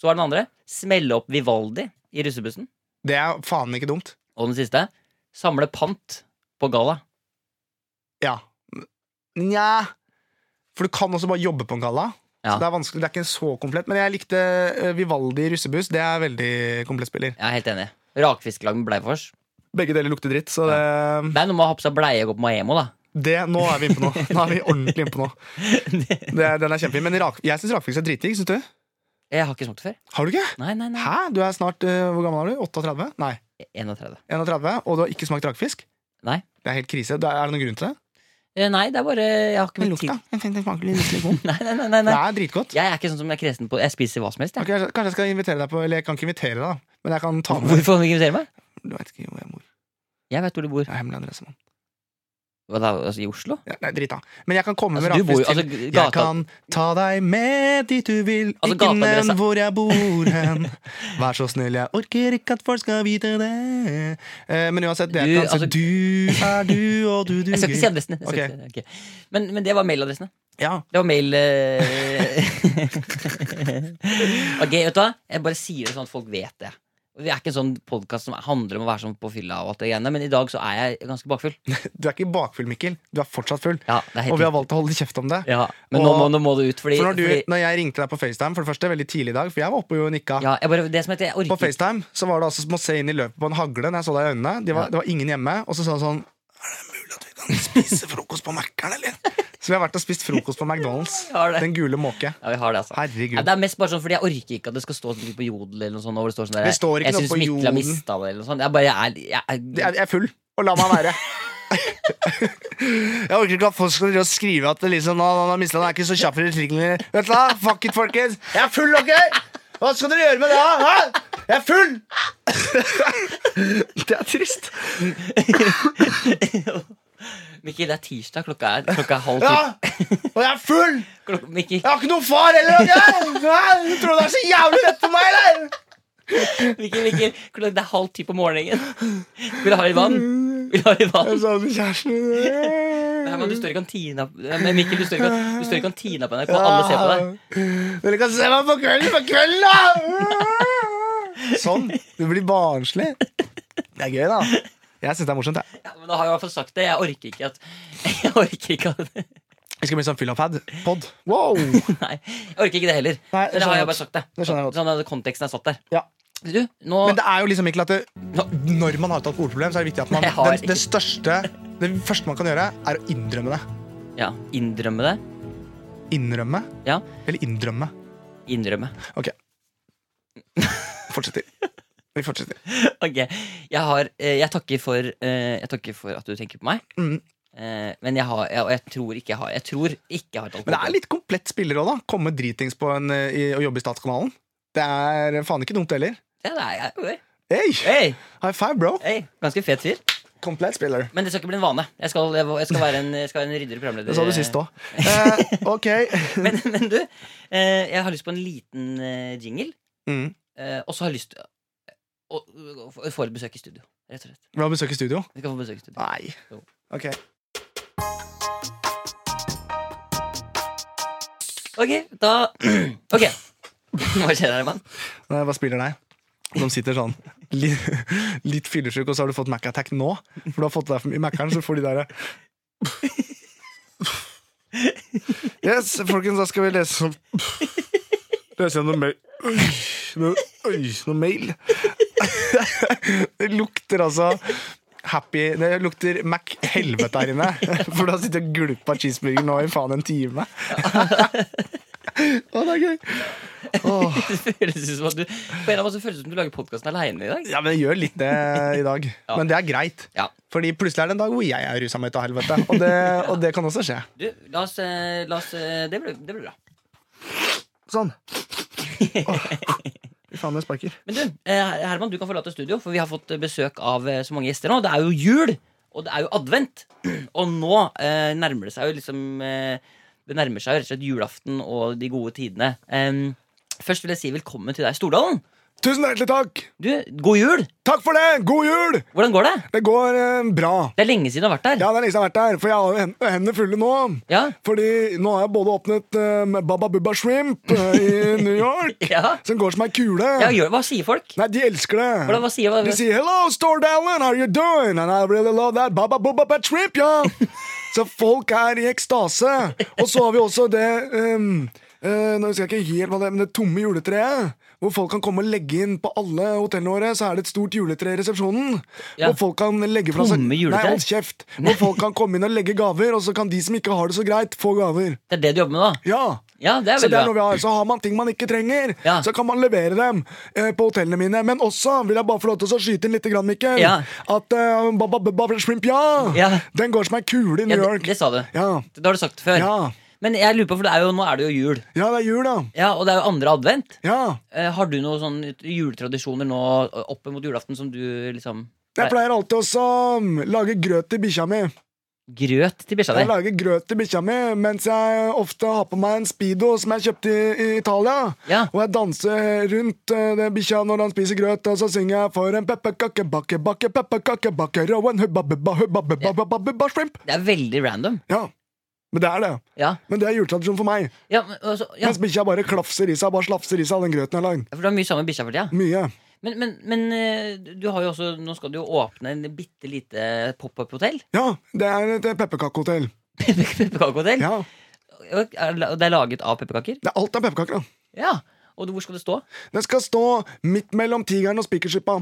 Speaker 3: Så er den andre. Smelle opp Vivaldi i russebussen.
Speaker 2: Det er faen ikke dumt.
Speaker 3: Og den siste Samle pant på galla
Speaker 2: Ja. Nja. For du kan også bare jobbe på en galla. Så
Speaker 3: Ja.
Speaker 2: det er vanskelig, det er ikke så komplett. Men jeg likte eh, Vivaldi i russebuss. Det er veldig komplett spiller.
Speaker 3: Jeg er helt enig Rakfisklag med Bleifors
Speaker 2: Begge deler lukter dritt, så det,
Speaker 3: Det er noe med å ha på seg bleie og gå på Maemo da
Speaker 2: det Nå er vi inne på noe. Nå er vi ordentlig inne på noe. Det, den er kjempefin. Men rak, jeg syns rakfiks er dritdigg. Syns du?
Speaker 3: Jeg har ikke smakt det før
Speaker 2: Har du ikke?
Speaker 3: Nei, nei, nei
Speaker 2: Hæ? Du er snart eh, Hvor gammel er du? 38? Nei.
Speaker 3: 31
Speaker 2: 31, og du har ikke smakt rakfisk?
Speaker 3: Nei
Speaker 2: Det er helt krise. Det Er er det noen grunn til det?
Speaker 3: Eh, Nei, det er bare Jeg har ikke
Speaker 2: Men
Speaker 3: blitt
Speaker 2: lukta
Speaker 3: til
Speaker 2: den fin- den smaker litt- litt god.
Speaker 3: Nei, nei, nei, nei,
Speaker 2: Det
Speaker 3: nei.
Speaker 2: er dritgodt.
Speaker 3: Jeg er ikke sånn som jeg er kresen på Jeg spiser hva som helst jeg.
Speaker 2: Ok, kanskje kanskje jeg skal invitere deg på Eller jeg kan ikke invitere deg, da. men jeg kan ta med
Speaker 3: Hvorfor kan du ikke invitere meg?
Speaker 2: Du vet ikke hvor jeg bor.
Speaker 3: Jeg vet hvor du bor
Speaker 2: Jeg har hemmelig adresse, mann.
Speaker 3: Hva da, altså i Oslo?
Speaker 2: Ja, Nei, drit da. Men jeg kan komme med
Speaker 3: Altså, du bor jo
Speaker 2: rakfisk
Speaker 3: Altså,
Speaker 2: til
Speaker 3: g-
Speaker 2: Jeg
Speaker 3: gata
Speaker 2: kan ta deg med dit du vil,
Speaker 3: Altså,
Speaker 2: ikke nevn
Speaker 3: gateadresse.
Speaker 2: hvor jeg bor hen. Vær så snill, jeg orker ikke at folk skal vite det. Eh, Men uansett, det
Speaker 3: Du,
Speaker 2: jeg kan
Speaker 3: altså-
Speaker 2: si du er du, og du
Speaker 3: Jeg skal ikke si
Speaker 2: duger.
Speaker 3: adressen jeg skal
Speaker 2: Ok.
Speaker 3: ikke si- ok. men, men det var mailadressene
Speaker 2: Ja,
Speaker 3: Det var mail eh, Ok, vet du hva? Jeg bare sier det sånn at folk vet det. Og Vi er ikke en sånn podkast som handler om å være sånn på fylla, og alt det greiene men i dag så er jeg ganske bakfull.
Speaker 2: Du er ikke bakfull, Mikkel. Du er fortsatt full.
Speaker 3: Ja, det er helt
Speaker 2: Og vi har valgt å holde kjeft om det.
Speaker 3: ja, Men nå, må, nå må du ut, fordi,
Speaker 2: For når, du,
Speaker 3: fordi
Speaker 2: når jeg ringte deg på FaceTime, for det første veldig tidlig i dag, for jeg var oppe jo og nikka
Speaker 3: ja, jeg bare, Det som heter jeg
Speaker 2: På
Speaker 3: orker
Speaker 2: FaceTime så var det altså som å se inn i løpet på en hagle når jeg så deg i øynene. De var,
Speaker 3: Ja.
Speaker 2: Det var ingen hjemme. Og så sa han sånn Er det mulig at vi kan spise frokost på Mækkern, eller? Så vi har vært og spist frokost på McDonald's.
Speaker 3: Ja, har det.
Speaker 2: Den gule måke.
Speaker 3: Ja, vi har det, altså. Ja,
Speaker 2: Herregud.
Speaker 3: det er mest bare sånn fordi jeg orker ikke at det skal stå sånn på Jodel eller noe sånt. Hvor det står sånn der,
Speaker 2: Det står ikke
Speaker 3: jeg
Speaker 2: noe
Speaker 3: synes
Speaker 2: på
Speaker 3: Mikkel har
Speaker 2: Jodel.
Speaker 3: mista det, eller noe sånt. Jeg bare jeg, er- jeg,
Speaker 2: Jeg jeg er full, og la meg være. Jeg orker ikke at folk skal drive og skrive at det liksom, han, han har mistet, han er ikke så kjapp i replikkene. Vet du hva? Fuck it, folkens. Jeg er full, ok? Hva skal dere gjøre med det? da? Hæ? Jeg er full! det er trist.
Speaker 3: Mikkel, det er tirsdag, klokka er klokka er halv
Speaker 2: Ja,
Speaker 3: to.
Speaker 2: og jeg er full!
Speaker 3: Klok Mikkel,
Speaker 2: Jeg har ikke noen far heller! ok? Hæ? Du tror det er så jævlig lett for meg, eller?
Speaker 3: Mikkel, Mikkel, klokka det er halv ti på morgenen. Vil du ha litt vann? Vil du ha litt vann?
Speaker 2: savner kjæresten min.
Speaker 3: Nei, men du står i kantina eh, Men Mikkel, du står i, kan- du står i kantina på NRK, alle ser på deg.
Speaker 2: Dere kan se meg på kvelden på kvelden, da! Sånn. Du blir barnslig. Det er gøy, da. Jeg syns det er morsomt. Jeg,
Speaker 3: Ja, men da har jeg i hvert fall sagt det. Jeg orker ikke at Jeg orker ikke at
Speaker 2: jeg skal bli sånn fyllapad. Pod. Wow!
Speaker 3: Nei, jeg orker ikke det heller.
Speaker 2: Nei, det
Speaker 3: Men da
Speaker 2: skjønner
Speaker 3: har
Speaker 2: jeg
Speaker 3: jeg
Speaker 2: godt.
Speaker 3: bare sagt det.
Speaker 2: Det skjønner jeg godt.
Speaker 3: Sånn at konteksten er satt der.
Speaker 2: Ja.
Speaker 3: Du, nå
Speaker 2: Men det er jo liksom ikke at det, når man har et alkoholproblem, så er det viktig at man
Speaker 3: Jeg har
Speaker 2: den,
Speaker 3: ikke.
Speaker 2: Det største Det første man kan gjøre, er å innrømme det.
Speaker 3: Ja, innrømme det.
Speaker 2: Innrømme
Speaker 3: Ja,
Speaker 2: eller innrømme.
Speaker 3: innrømme.
Speaker 2: Ok. Fortsetter. Vi fortsetter.
Speaker 3: Ok, jeg har eh, Jeg takker for eh, Jeg takker for at du tenker på meg.
Speaker 2: Mm.
Speaker 3: Eh, Men jeg har jeg, Og jeg tror ikke jeg har Jeg tror ikke jeg har et
Speaker 2: Men det er litt komplett spiller òg, da. Komme dritings på en, eh, i, og jobbe i Statskanalen. Det er faen ikke dumt heller.
Speaker 3: Ja, det er jeg.
Speaker 2: Hey,
Speaker 3: Hey,
Speaker 2: high five, bro.
Speaker 3: hey, ganske fet fyr.
Speaker 2: Komplett spiller.
Speaker 3: Men det skal ikke bli en vane. Jeg skal, jeg, skal være en, jeg skal være en ryddigere programleder.
Speaker 2: Det sa du sist òg. Eh, ok.
Speaker 3: Men, men du, eh, jeg har lyst på en liten eh, jingle.
Speaker 2: Mm.
Speaker 3: eh, Og så har jeg lyst eh, til å, å, å få et besøk i studio. Rett og slett.
Speaker 2: Vi har besøk i studio.
Speaker 3: Vi skal få besøk i studio.
Speaker 2: Nei.
Speaker 3: Jo.
Speaker 2: Ok.
Speaker 3: Ok, da Ok. Hva skjer her, mann?
Speaker 2: Nei, Hva spiller deg? De sitter sånn litt, litt fyllesyk, og så har du fått Mac Attack nå. For du har fått deg for mye Mac-eren, så får de derre Yes, folkens, da skal vi lese Lese gjennom mail Oi, noe, oi, noe mail. Det lukter altså Happy Det lukter Mac helvete her inne. For du har sittet og gulpa cheeseburger nå i faen en time. Å, det er gøy. Åh.
Speaker 3: Det føles ut som at du På en eller annen måte føles det som du lager podkasten aleine i dag.
Speaker 2: Ja, men jeg gjør litt det i dag.
Speaker 3: Ja.
Speaker 2: Men det er greit.
Speaker 3: Ja.
Speaker 2: Fordi plutselig er det en dag hvor jeg er rusa meg ut av helvete. Og det, og det kan også skje.
Speaker 3: Du, la oss, eh, la oss eh, Det blir det blir bra.
Speaker 2: Sånn. Åh. Fy faen, det sparker.
Speaker 3: Men du, eh, Herman, du kan forlate studio, for vi har fått eh, besøk av eh, så mange gjester nå. Det er jo jul, og det er jo advent. Og nå eh, nærmer det seg jo liksom eh, Det nærmer seg jo rett og slett julaften og de gode tidene. Em, først vil jeg si velkommen til deg, Stordalen.
Speaker 4: Tusen hjertelig takk!
Speaker 3: Du, God jul!
Speaker 4: Takk for det! God jul!
Speaker 3: Hvordan går det?
Speaker 4: Det går eh, bra.
Speaker 3: Det er lenge siden du har vært der.
Speaker 4: Ja, det er lenge siden jeg har vært der, for jeg har jo hen- hendene fulle nå.
Speaker 3: Ja?
Speaker 4: Fordi nå har jeg både åpnet eh, med Baba Bubba Shrimp eh, i New York,
Speaker 3: Ja.
Speaker 4: som går som ei kule.
Speaker 3: Ja, gjør, Hva sier folk?
Speaker 4: Nei, de elsker det.
Speaker 3: Hvordan, hva sier hva,
Speaker 4: De sier 'Hello, Store Dallin, how are you doing?' And I really love that Baba Bubba Bubba Shrimp, ja! så folk er i ekstase. Og så har vi også det ehm, eh, Nå husker jeg ikke helt hva det er, men det tomme juletreet. Hvor folk kan komme og legge inn på alle hotellene våre. Så er det et stort juletre i resepsjonen.
Speaker 3: Ja.
Speaker 4: Hvor folk kan legge fra seg
Speaker 3: Tomme juletre?
Speaker 4: Nei, hold kjeft. Hvor folk kan komme inn og legge gaver, og så kan de som ikke har det så greit, få gaver.
Speaker 3: Det er det du jobber med, da?
Speaker 4: Ja.
Speaker 3: Ja, det er
Speaker 4: Så
Speaker 3: veldig
Speaker 4: det er
Speaker 3: bra.
Speaker 4: noe vi har. Så har man ting man ikke trenger,
Speaker 3: Ja.
Speaker 4: så kan man levere dem eh, på hotellene mine. Men også vil jeg bare få lov til å skyte inn litt, grann, Mikkel,
Speaker 3: Ja.
Speaker 4: at eh, Baba Bubba Shrimp, ja,
Speaker 3: Ja.
Speaker 4: den går som ei kule i New
Speaker 3: Ja, det,
Speaker 4: York.
Speaker 3: det sa du.
Speaker 4: Ja.
Speaker 3: Det har du sagt før.
Speaker 4: Ja.
Speaker 3: Men jeg lurer på, for det er jo, nå er det jo jul,
Speaker 4: ja, det er jul, da.
Speaker 3: Ja, og det er jo andre advent.
Speaker 4: Ja.
Speaker 3: Eh, har du noen sånn juletradisjoner nå eh, oppe mot julaften som du liksom
Speaker 4: Jeg pleier alltid også å lage grøt til bikkja mi.
Speaker 3: Grøt til bikkja di?
Speaker 4: Jeg lager grøt til bikkja mi mens jeg ofte har på meg en Speedo som jeg kjøpte i, i Italia.
Speaker 3: Ja.
Speaker 4: Og jeg danser rundt eh, den bikkja når han spiser grøt, og så synger jeg for en pepperkakebakke, bakke, pepperkakebakke, rowan, hubba, bubba, hubba, bubba, bubba, bubba, shrimp.
Speaker 3: Det er veldig random.
Speaker 4: Ja. Men det er det.
Speaker 3: Ja,
Speaker 4: Men det er juletradisjon for meg.
Speaker 3: ja, men, altså, ja.
Speaker 4: Mens bikkja bare klafser i seg bare slafser i seg all den grøten jeg har lagd.
Speaker 3: For du har mye sammen med bikkja for tida.
Speaker 4: Mye.
Speaker 3: Men, men, men eh, du har jo også Nå skal du jo åpne en bitte lite pop-up-hotell.
Speaker 4: Ja, det er et pepperkakehotell.
Speaker 3: Pepperkakehotell.
Speaker 4: Ja.
Speaker 3: Og er la- og det er laget av pepperkaker?
Speaker 4: Det er alt av pepperkaker, da.
Speaker 3: Ja. Og hvor skal det stå? Å
Speaker 4: Den skal stå midt mellom Tigeren og Spikerskippa.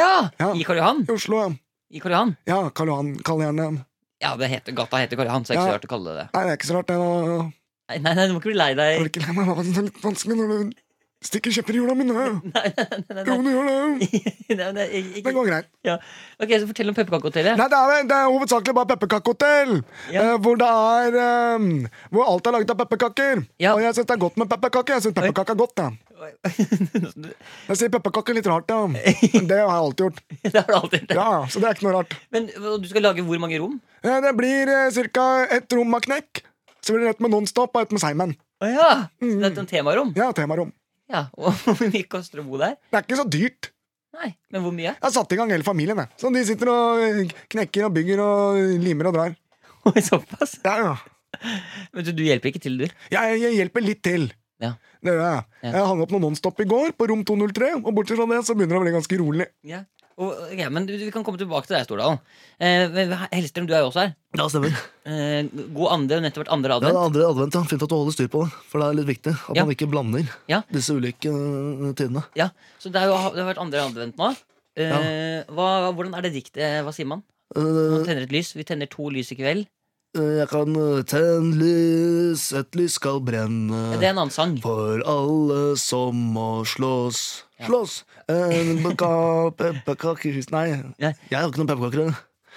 Speaker 3: ja!
Speaker 4: Ja.
Speaker 3: I Karl Johan?
Speaker 4: I Oslo, ja.
Speaker 3: I Karl Johan?
Speaker 4: Ja, Karl Johan, kall gjerne det.
Speaker 3: Ja, det heter, gata heter Karl Johan, så det
Speaker 4: Ja.
Speaker 3: er ikke så rart å kalle det det.
Speaker 4: Nei, det er ikke så rart, det. da.
Speaker 3: Nei, nei, nei, du må ikke bli lei
Speaker 4: Jeg
Speaker 3: deg.
Speaker 4: orker ikke, men Det var litt vanskelig når du
Speaker 2: Stikk i kjepper i hjula mine. Nei, nei, nei.
Speaker 3: Nei, nei, ik-
Speaker 2: Det
Speaker 3: ik-
Speaker 2: går greit.
Speaker 3: ja. Ok, så fortell om pepperkakehotellet.
Speaker 2: Nei, det er, det er hovedsakelig bare pepperkakehotell.
Speaker 3: Ja.
Speaker 2: eh, Hvor det er eh, Hvor alt er laget av pepperkaker.
Speaker 3: Ja.
Speaker 2: Og jeg syns det er godt med pepperkaker. Jeg syns pepperkaker er godt. Ja. Jeg sier pepperkaker litt rart, ja. Det har jeg alltid gjort.
Speaker 3: det har du alltid gjort.
Speaker 2: Ja, ja, Så det er ikke noe rart.
Speaker 3: Men og du skal lage hvor mange rom?
Speaker 2: Eh, Det blir eh, ca. ett rom av knekk. Så blir det ett med Nonstop og ett med Simon.
Speaker 3: Å ja! Så det er et sånt temarom?
Speaker 2: Ja, temarom.
Speaker 3: Ja. Og hvor mye koster det å bo der?
Speaker 2: Det er ikke så dyrt.
Speaker 3: Nei, men hvor mye?
Speaker 2: Jeg har satt i gang hele familien. jeg. Så de sitter og eh, knekker og bygger og limer og drar.
Speaker 3: Oi, Såpass?
Speaker 2: Ja, ja.
Speaker 3: Men du, du hjelper ikke til, du?
Speaker 2: Jeg, jeg hjelper litt til.
Speaker 3: Ja.
Speaker 2: Det gjør jeg.
Speaker 3: Ja.
Speaker 2: Jeg hang opp noen nonstop i går på rom 203, og bortsett fra det så begynner det å bli ganske rolig.
Speaker 3: Ja. Og, ok, men du, vi kan komme tilbake til deg, Stordalen. Eh, men Hellstrøm, du er jo også her.
Speaker 5: Ja, stemmer.
Speaker 3: Eh, god andre, det har nettopp vært andre
Speaker 5: Ja, det
Speaker 3: advent.
Speaker 5: er andre advent, ja. Fint at du holder styr på det, for det er litt viktig at
Speaker 3: Ja.
Speaker 5: man ikke blander
Speaker 3: Ja.
Speaker 5: disse ulike eh, tidene.
Speaker 3: Ja, Så det, er jo, det har vært andre advent nå. Eh, hva, hvordan er det diktet? Hva sier man? Man
Speaker 5: Eh,
Speaker 3: tenner et lys. Vi tenner to lys i kveld.
Speaker 5: eh, jeg kan eh, tenne lys, et lys skal brenne.
Speaker 3: Det er en annen sang.
Speaker 5: For alle som må slåss
Speaker 3: Ja.
Speaker 5: Slåss! En baka- Pepperkakehus Nei,
Speaker 3: Nei.
Speaker 5: jeg har ikke noen pepperkaker.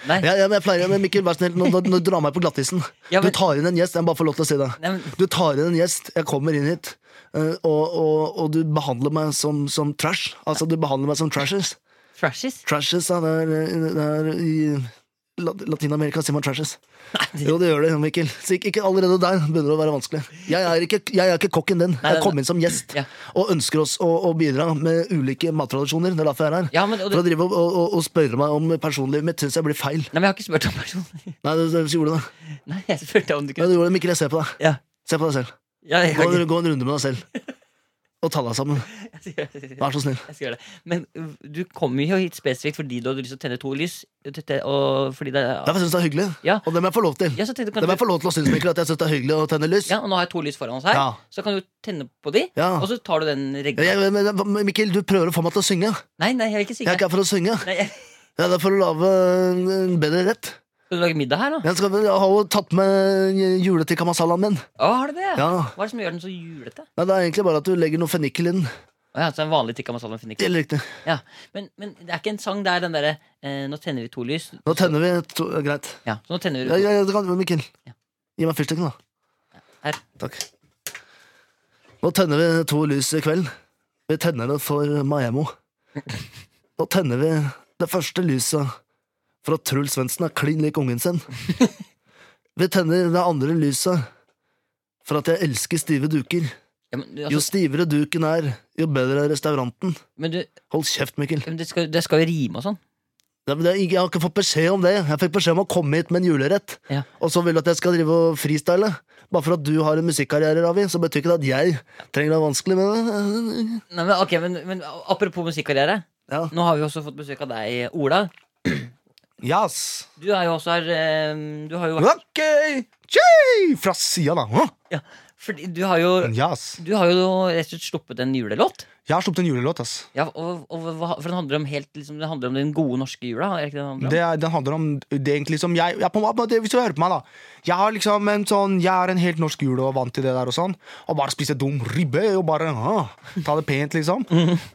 Speaker 3: Nei,
Speaker 5: Jeg, jeg, jeg pleier, men Mikkel, vær snill, nå, nå, nå dra meg på glattisen.
Speaker 3: Ja, men-
Speaker 5: Du tar inn en gjest, jeg må bare får lov til å si det.
Speaker 3: Nei, men-
Speaker 5: Du tar inn en gjest, jeg kommer inn hit, eh, og, og, og du behandler meg som, som trash. Altså, du behandler meg som trashes.
Speaker 3: Trashes.
Speaker 5: Trashes, ja, det er, eh, det er i Lat- Latin-Amerika sier man trashes.
Speaker 3: Nei,
Speaker 5: Jo, det gjør det, Mikkel. Så ikke, ikke allerede der begynner det å være vanskelig. Jeg er ikke, jeg er ikke kokken din.
Speaker 3: nei,
Speaker 5: Jeg kom inn som gjest
Speaker 3: Ja.
Speaker 5: og ønsker oss å, å bidra med ulike mattradisjoner. Det er derfor jeg er her.
Speaker 3: Ja, men- og du-
Speaker 5: For å drive og, og, og- og spørre meg om personlivet mitt syns jeg blir feil.
Speaker 3: Nei, men jeg har ikke spurt om personen.
Speaker 5: Nei, du, du gjorde det.
Speaker 3: Nei, jeg spurte om du
Speaker 5: Ja,
Speaker 3: kunne
Speaker 5: du gjorde det, Mikkel. Jeg ser på deg.
Speaker 3: Ja.
Speaker 5: Se på deg selv.
Speaker 3: ja jeg,
Speaker 5: Gå,
Speaker 3: har
Speaker 5: en- gå en runde med deg selv. Og ta deg sammen.
Speaker 3: ikke- jeg, skal gjøre det.
Speaker 5: Vær så snill.
Speaker 3: jeg skal gjøre det. Men uh, du kom jo hit spesifikt fordi du hadde lyst til å tenne to lys. Tette- Og fordi det
Speaker 5: Derfor syns jeg det er hyggelig.
Speaker 3: Ja.
Speaker 5: Og det må jeg få lov til.
Speaker 3: Ja, så tenkte,
Speaker 5: Det
Speaker 3: kan
Speaker 5: må
Speaker 3: du
Speaker 5: jeg få lov til å synes, Mikkel, at jeg syns det er hyggelig å tenne lys.
Speaker 3: Ja, og nå har jeg to lys foran oss her.
Speaker 5: Ja.
Speaker 3: Så kan du tenne på de,
Speaker 5: Ja.
Speaker 3: og så tar du den regla.
Speaker 5: Jeg, men, men, Mikkel, du prøver å få meg til å synge.
Speaker 3: Nei, nei, jeg vil ikke
Speaker 5: Jeg
Speaker 3: synge.
Speaker 5: er ikke her for å synge.
Speaker 3: Nei, jeg...
Speaker 5: Jeg er der for å lage en en bedre rett.
Speaker 3: Skal du lage middag her, da?
Speaker 5: Jeg, skal, jeg har jo tatt med juletikka masalaen min.
Speaker 3: Å, har du det?
Speaker 5: Ja.
Speaker 3: Hva er det som gjør den så julete?
Speaker 5: Nei, det er egentlig bare at du legger noe fennikel inn.
Speaker 3: Å, ja, så en vanlig tikka masala finner ikke.
Speaker 5: Helt riktig.
Speaker 3: Ja. Men, men det er ikke en sang der den derre eh, Nå tenner vi to lys.
Speaker 5: Nå tenner vi to, ja, Greit.
Speaker 3: Ja, så nå tenner vi
Speaker 5: Ja,
Speaker 3: to.
Speaker 5: ja, ja, det kan, Mikkel, gi meg fyrstikken, da.
Speaker 3: Her.
Speaker 5: Takk. Nå tenner vi to lys i kveld. Vi tenner det for Maemo. Nå tenner vi det første lyset for at Truls Svendsen er klin lik ungen sin. Vi tenner det andre lyset for at jeg elsker stive duker.
Speaker 3: Ja, men, du,
Speaker 5: Jo
Speaker 3: altså,
Speaker 5: stivere duken er, jo bedre er restauranten.
Speaker 3: men du,
Speaker 5: Hold kjeft, Mikkel.
Speaker 3: men det, skal, det skal jo rime og sånn.
Speaker 5: Det, det, jeg har ikke fått beskjed om det. Jeg fikk beskjed om å komme hit med en julerett.
Speaker 3: Ja.
Speaker 5: Og så vil du at jeg skal drive og freestyle. Bare for at du har en musikkarriere, Ravi, så betyr ikke det at jeg trenger det vanskelig med det.
Speaker 3: Nei, men, ok, men, men apropos musikkarriere.
Speaker 5: Ja.
Speaker 3: Nå har vi også fått besøk av deg, Ola.
Speaker 5: eh,
Speaker 2: Yes.
Speaker 3: Du er jo også her eh, Du har jo vært
Speaker 2: Ok. Tjei! Fra sida, da. Hm? Hå?
Speaker 3: ja, fordi, Du har jo
Speaker 2: Yes.
Speaker 3: Du har jo rett og slett sluppet en julelåt.
Speaker 2: Jeg har sluppet en julelåt. ass.
Speaker 3: Ja, og, og hva- for den handler om helt liksom, Den handler om den gode norske jula? Er det ikke det den handler om?
Speaker 2: Det, er- den handler om det er egentlig som jeg, jeg på, en måte- Hvis du hører på meg, da. Jeg har liksom en sånn Jeg er en helt norsk jule og vant til det der og sånn. Og bare spise dum ribbe og bare ah, ta det pent, liksom.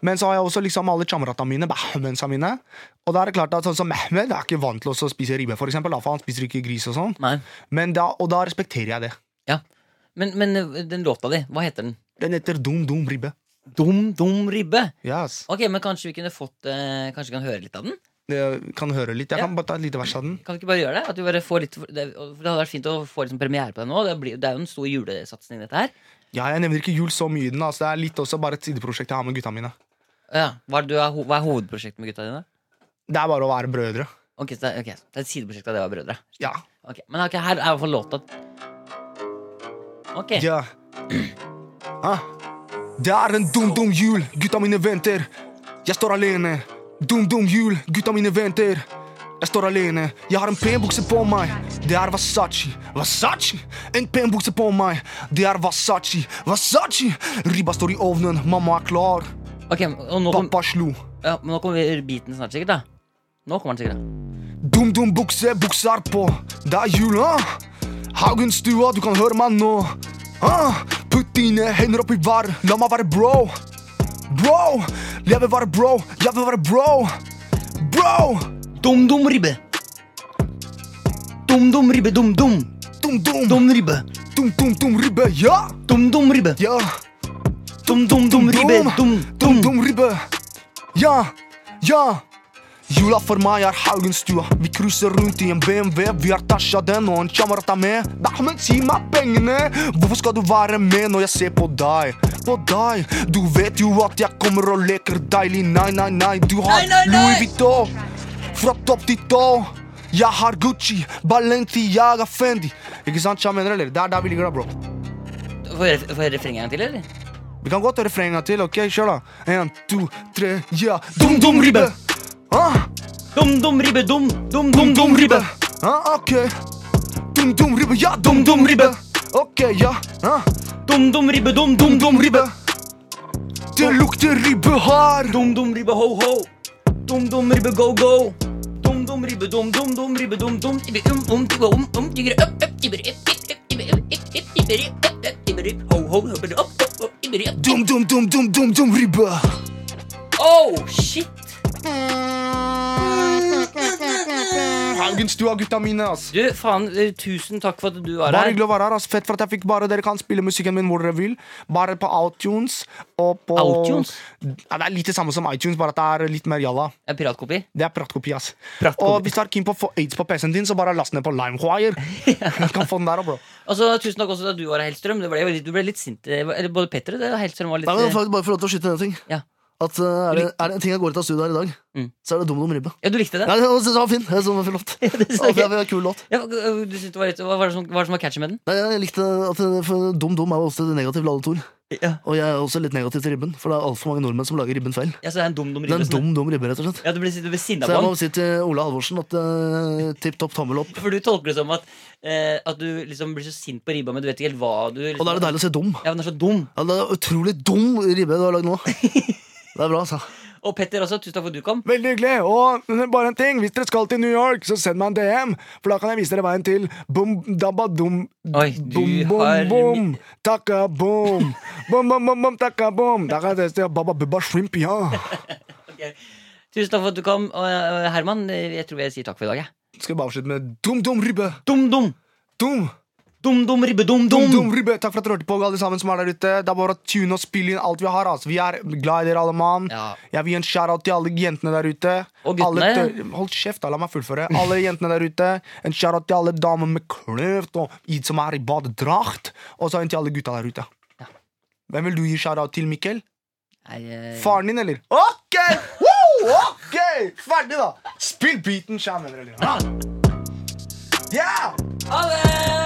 Speaker 2: Men så har jeg også liksom alle chamrata mine, bahmensa mine. Og da er det klart at sånn som Mehmed er ikke vant til å spise ribbe, for eksempel. Da, for han spiser ikke gris og sånn.
Speaker 3: Nei.
Speaker 2: Men da, og da respekterer jeg det.
Speaker 3: Ja. Men, men eh, den låta di, hva heter den?
Speaker 2: Den heter Dum Dum Ribbe.
Speaker 3: Dum Dum Ribbe.
Speaker 2: Yes.
Speaker 3: Ok, men kanskje vi kunne fått eh, Kanskje vi kan høre litt av den?
Speaker 2: Jeg kan høre litt. Jeg kan bare ta et lite vers av den.
Speaker 3: Kan vi ikke bare gjøre det? At vi bare får litt for Det, og- for det hadde vært fint å få liksom premiere på den nå. Det, blir, det er jo en stor julesatsing, dette her.
Speaker 2: Ja, jeg nevner ikke jul så mye i den. Altså, det er litt også bare et sideprosjekt jeg har med gutta mine.
Speaker 3: Ja, hva, er, det du er, ho- hva er hovedprosjektet med gutta dine?
Speaker 2: Det er bare å være brødre.
Speaker 3: Ok, så det, er- ok, så det er et sideprosjekt av det å være brødre.
Speaker 2: Ja.
Speaker 3: Ok, Men ok, her er i hvert fall låta. Ok.
Speaker 2: Ja. Ah. Det er en dum-dum jul, gutta mine venter. Jeg står alene. Dum-dum jul, gutta mine venter. Jeg står alene. Jeg har en pen bukse på meg. Det er Versace. Versace! En pen bukse på meg. Det er Versace. Versace! Ribba står i ovnen. Mamma er klar.
Speaker 3: Ok, og nå, kom,
Speaker 2: Pappa slo.
Speaker 3: ja, men nå kommer beaten snart, sikkert. da Nå kommer den sikkert. da
Speaker 2: Dum-dum bukse, bukse er på. Det er jul, ah! Haugenstua, du kan høre meg nå. Ah! Putt dine hender opp i var, la meg være bro. er
Speaker 5: Bro, leve var bro, leve var bro Bro,
Speaker 6: Dum dum ribe. Dum dum ribe dum dum.
Speaker 5: dum dum, dum,
Speaker 6: Dum ribe.
Speaker 5: dum, dum, ribe, ja,
Speaker 6: Dum dum ribe.
Speaker 5: ja
Speaker 6: Dum dum dum ribe dum
Speaker 5: dum,
Speaker 6: dum.
Speaker 5: dum ribe Ja, ja Jula for meg er Haugenstua. Vi cruiser rundt i en BMW. Vi har tasja den og en kjammer ta med. Dahmen, si meg pengene! Hvorfor skal du være med når jeg ser på deg? På deg? Du vet jo at jeg kommer og leker deilig. Nei, nei, nei, du har
Speaker 3: Nei, nei, nei!
Speaker 5: Louis Vuitton. Fra topp til tå. Jeg har Gucci, Balenciaga, Fendi. Ikke sant, hva mener, eller? Det er der vi ligger, da, bro.
Speaker 3: Får jeg får jeg refrenget en gang til, eller?
Speaker 5: Vi kan gå til refrenga til, ok? Kjør, da. En, to, tre, ja. Dum, dum, ribbe! Ah,
Speaker 6: Dum dum ribe dum dum
Speaker 5: dum,
Speaker 6: dum dum ribe.
Speaker 5: Ah, ok. Dum, dum, ribbe, ja. Dum,
Speaker 6: Dum dum ribe.
Speaker 5: ok, ja. Ah,
Speaker 6: Dum dum ribe dum dum
Speaker 5: dum,
Speaker 6: dum
Speaker 5: ribbe. Det lukter ribbe her.
Speaker 6: Dum dum ribbe ho ho. Dum dum ribbe go go. Dum dum ribbe dum dum dum ribbe dum dum ribbe um um tigre um um tigre up up tigre up up tigre up up up tigre up up tigre ho ho ho up up up tigre up.
Speaker 5: Dum, dum, dum, dum, dum, dum, ribbe.
Speaker 3: Oh, shit!
Speaker 5: Haugenstua, gutta mine, ass.
Speaker 3: Du, faen, eh, tusen takk for at du var
Speaker 5: Bare
Speaker 3: her.
Speaker 5: hyggelig å være her. ass Fett for at jeg fikk bare dere kan spille musikken min hvor dere vil. Bare på Outunes og på
Speaker 3: Outunes?
Speaker 5: Ja, det er litt det samme som iTunes, bare at det er litt mer jalla.
Speaker 3: En piratkopi?
Speaker 5: Det er praktkopi, ass.
Speaker 3: Praktkopi.
Speaker 5: Og hvis du er keen på å få aids på PC-en din, så bare last ned på LimeWire. Du kan få den der, bro.
Speaker 3: Altså, Tusen takk også for at du var her, Hellstrøm. Du ble, jo litt- du ble litt sint. eh, Eller både Petter og det- Hellstrøm var litt
Speaker 7: Nei, men
Speaker 3: eh,
Speaker 7: faktisk bare for lov til å skyte en ting.
Speaker 3: Ja.
Speaker 7: At uh, er, det, er det en ting jeg går ut av studio her i dag,
Speaker 3: Mm.
Speaker 7: så er det Dum Dum Ribbe.
Speaker 3: Ja, du likte det?
Speaker 7: Nei, det var- det var fin. Jeg synes det var fin låt. Ja,
Speaker 3: det synes jeg.
Speaker 7: det var en kul låt.
Speaker 3: Ja, øh, du synes det var litt, hva var det som, hva var det som var catchy med den?
Speaker 7: Nei, jeg likte at det- for Dum Dum er jo ofte negativ ladet ord.
Speaker 3: Ja,
Speaker 7: Og jeg er også litt negativ til ribben, for det er altfor mange nordmenn som lager ribben feil.
Speaker 3: ja så det er en dum dum
Speaker 7: Det er
Speaker 3: ribbe.
Speaker 7: en
Speaker 3: som-
Speaker 7: dum, dum ribbe, rett og slett.
Speaker 3: Ja, du blir, du blir sinna
Speaker 7: Så jeg
Speaker 3: på
Speaker 7: må
Speaker 3: den.
Speaker 7: si til Ola Halvorsen at uh, tipp topp tommel opp.
Speaker 3: For du tolker det som at, eh, at du liksom blir så sint på ribba, men du vet ikke helt hva du liksom,
Speaker 7: Og da er det deilig å si dum.
Speaker 3: Ja, den er så dum.
Speaker 7: Ja, det er utrolig dum ribbe du har lagd nå. Det er bra, altså.
Speaker 3: Og Petter også, tusen takk for at du kom.
Speaker 5: Veldig hyggelig. Og bare en ting, hvis dere skal til New York, så send meg en DM, for da kan jeg vise dere veien til Bum dabba dum
Speaker 3: Oi, du
Speaker 5: Bum
Speaker 3: har
Speaker 5: bum bum
Speaker 3: mi-
Speaker 5: Takka bum Bum bum bum bum takka bum Da kan jeg teste baba bubba shrimp, ja.
Speaker 3: Tusen takk for at du kom. Og eh, Herman, eh, jeg tror jeg sier takk for i dag, jeg.
Speaker 5: Skal vi bare avslutte med dum dum ribbe.
Speaker 3: Dum dum!
Speaker 5: Dum.
Speaker 3: Dum dum ribbe dum
Speaker 5: Dum,
Speaker 3: dum!
Speaker 5: dum, ribbe. Takk for at dere hørte på, alle sammen som er der ute. Det er bare å tune og spille inn alt vi har. Altså. Vi er glad i dere, alle mann.
Speaker 3: Ja.
Speaker 5: Jeg vil gi en shout-out til alle jentene der ute.
Speaker 3: Og guttene.
Speaker 5: Alle tø- Hold kjeft, da. La meg fullføre. Alle jentene der ute. En shout-out til alle damer med kløft og i- som er i badedrakt. Og så en til alle gutta der ute.
Speaker 3: Ja.
Speaker 5: Hvem vil du gi shout-out til, Mikkel?
Speaker 3: Nei, eh,
Speaker 5: Faren din, eller? OK! Woo! OK! Ferdig, da. Spill beaten, kjære venner. eller? Ja! Yeah!
Speaker 3: Ha det!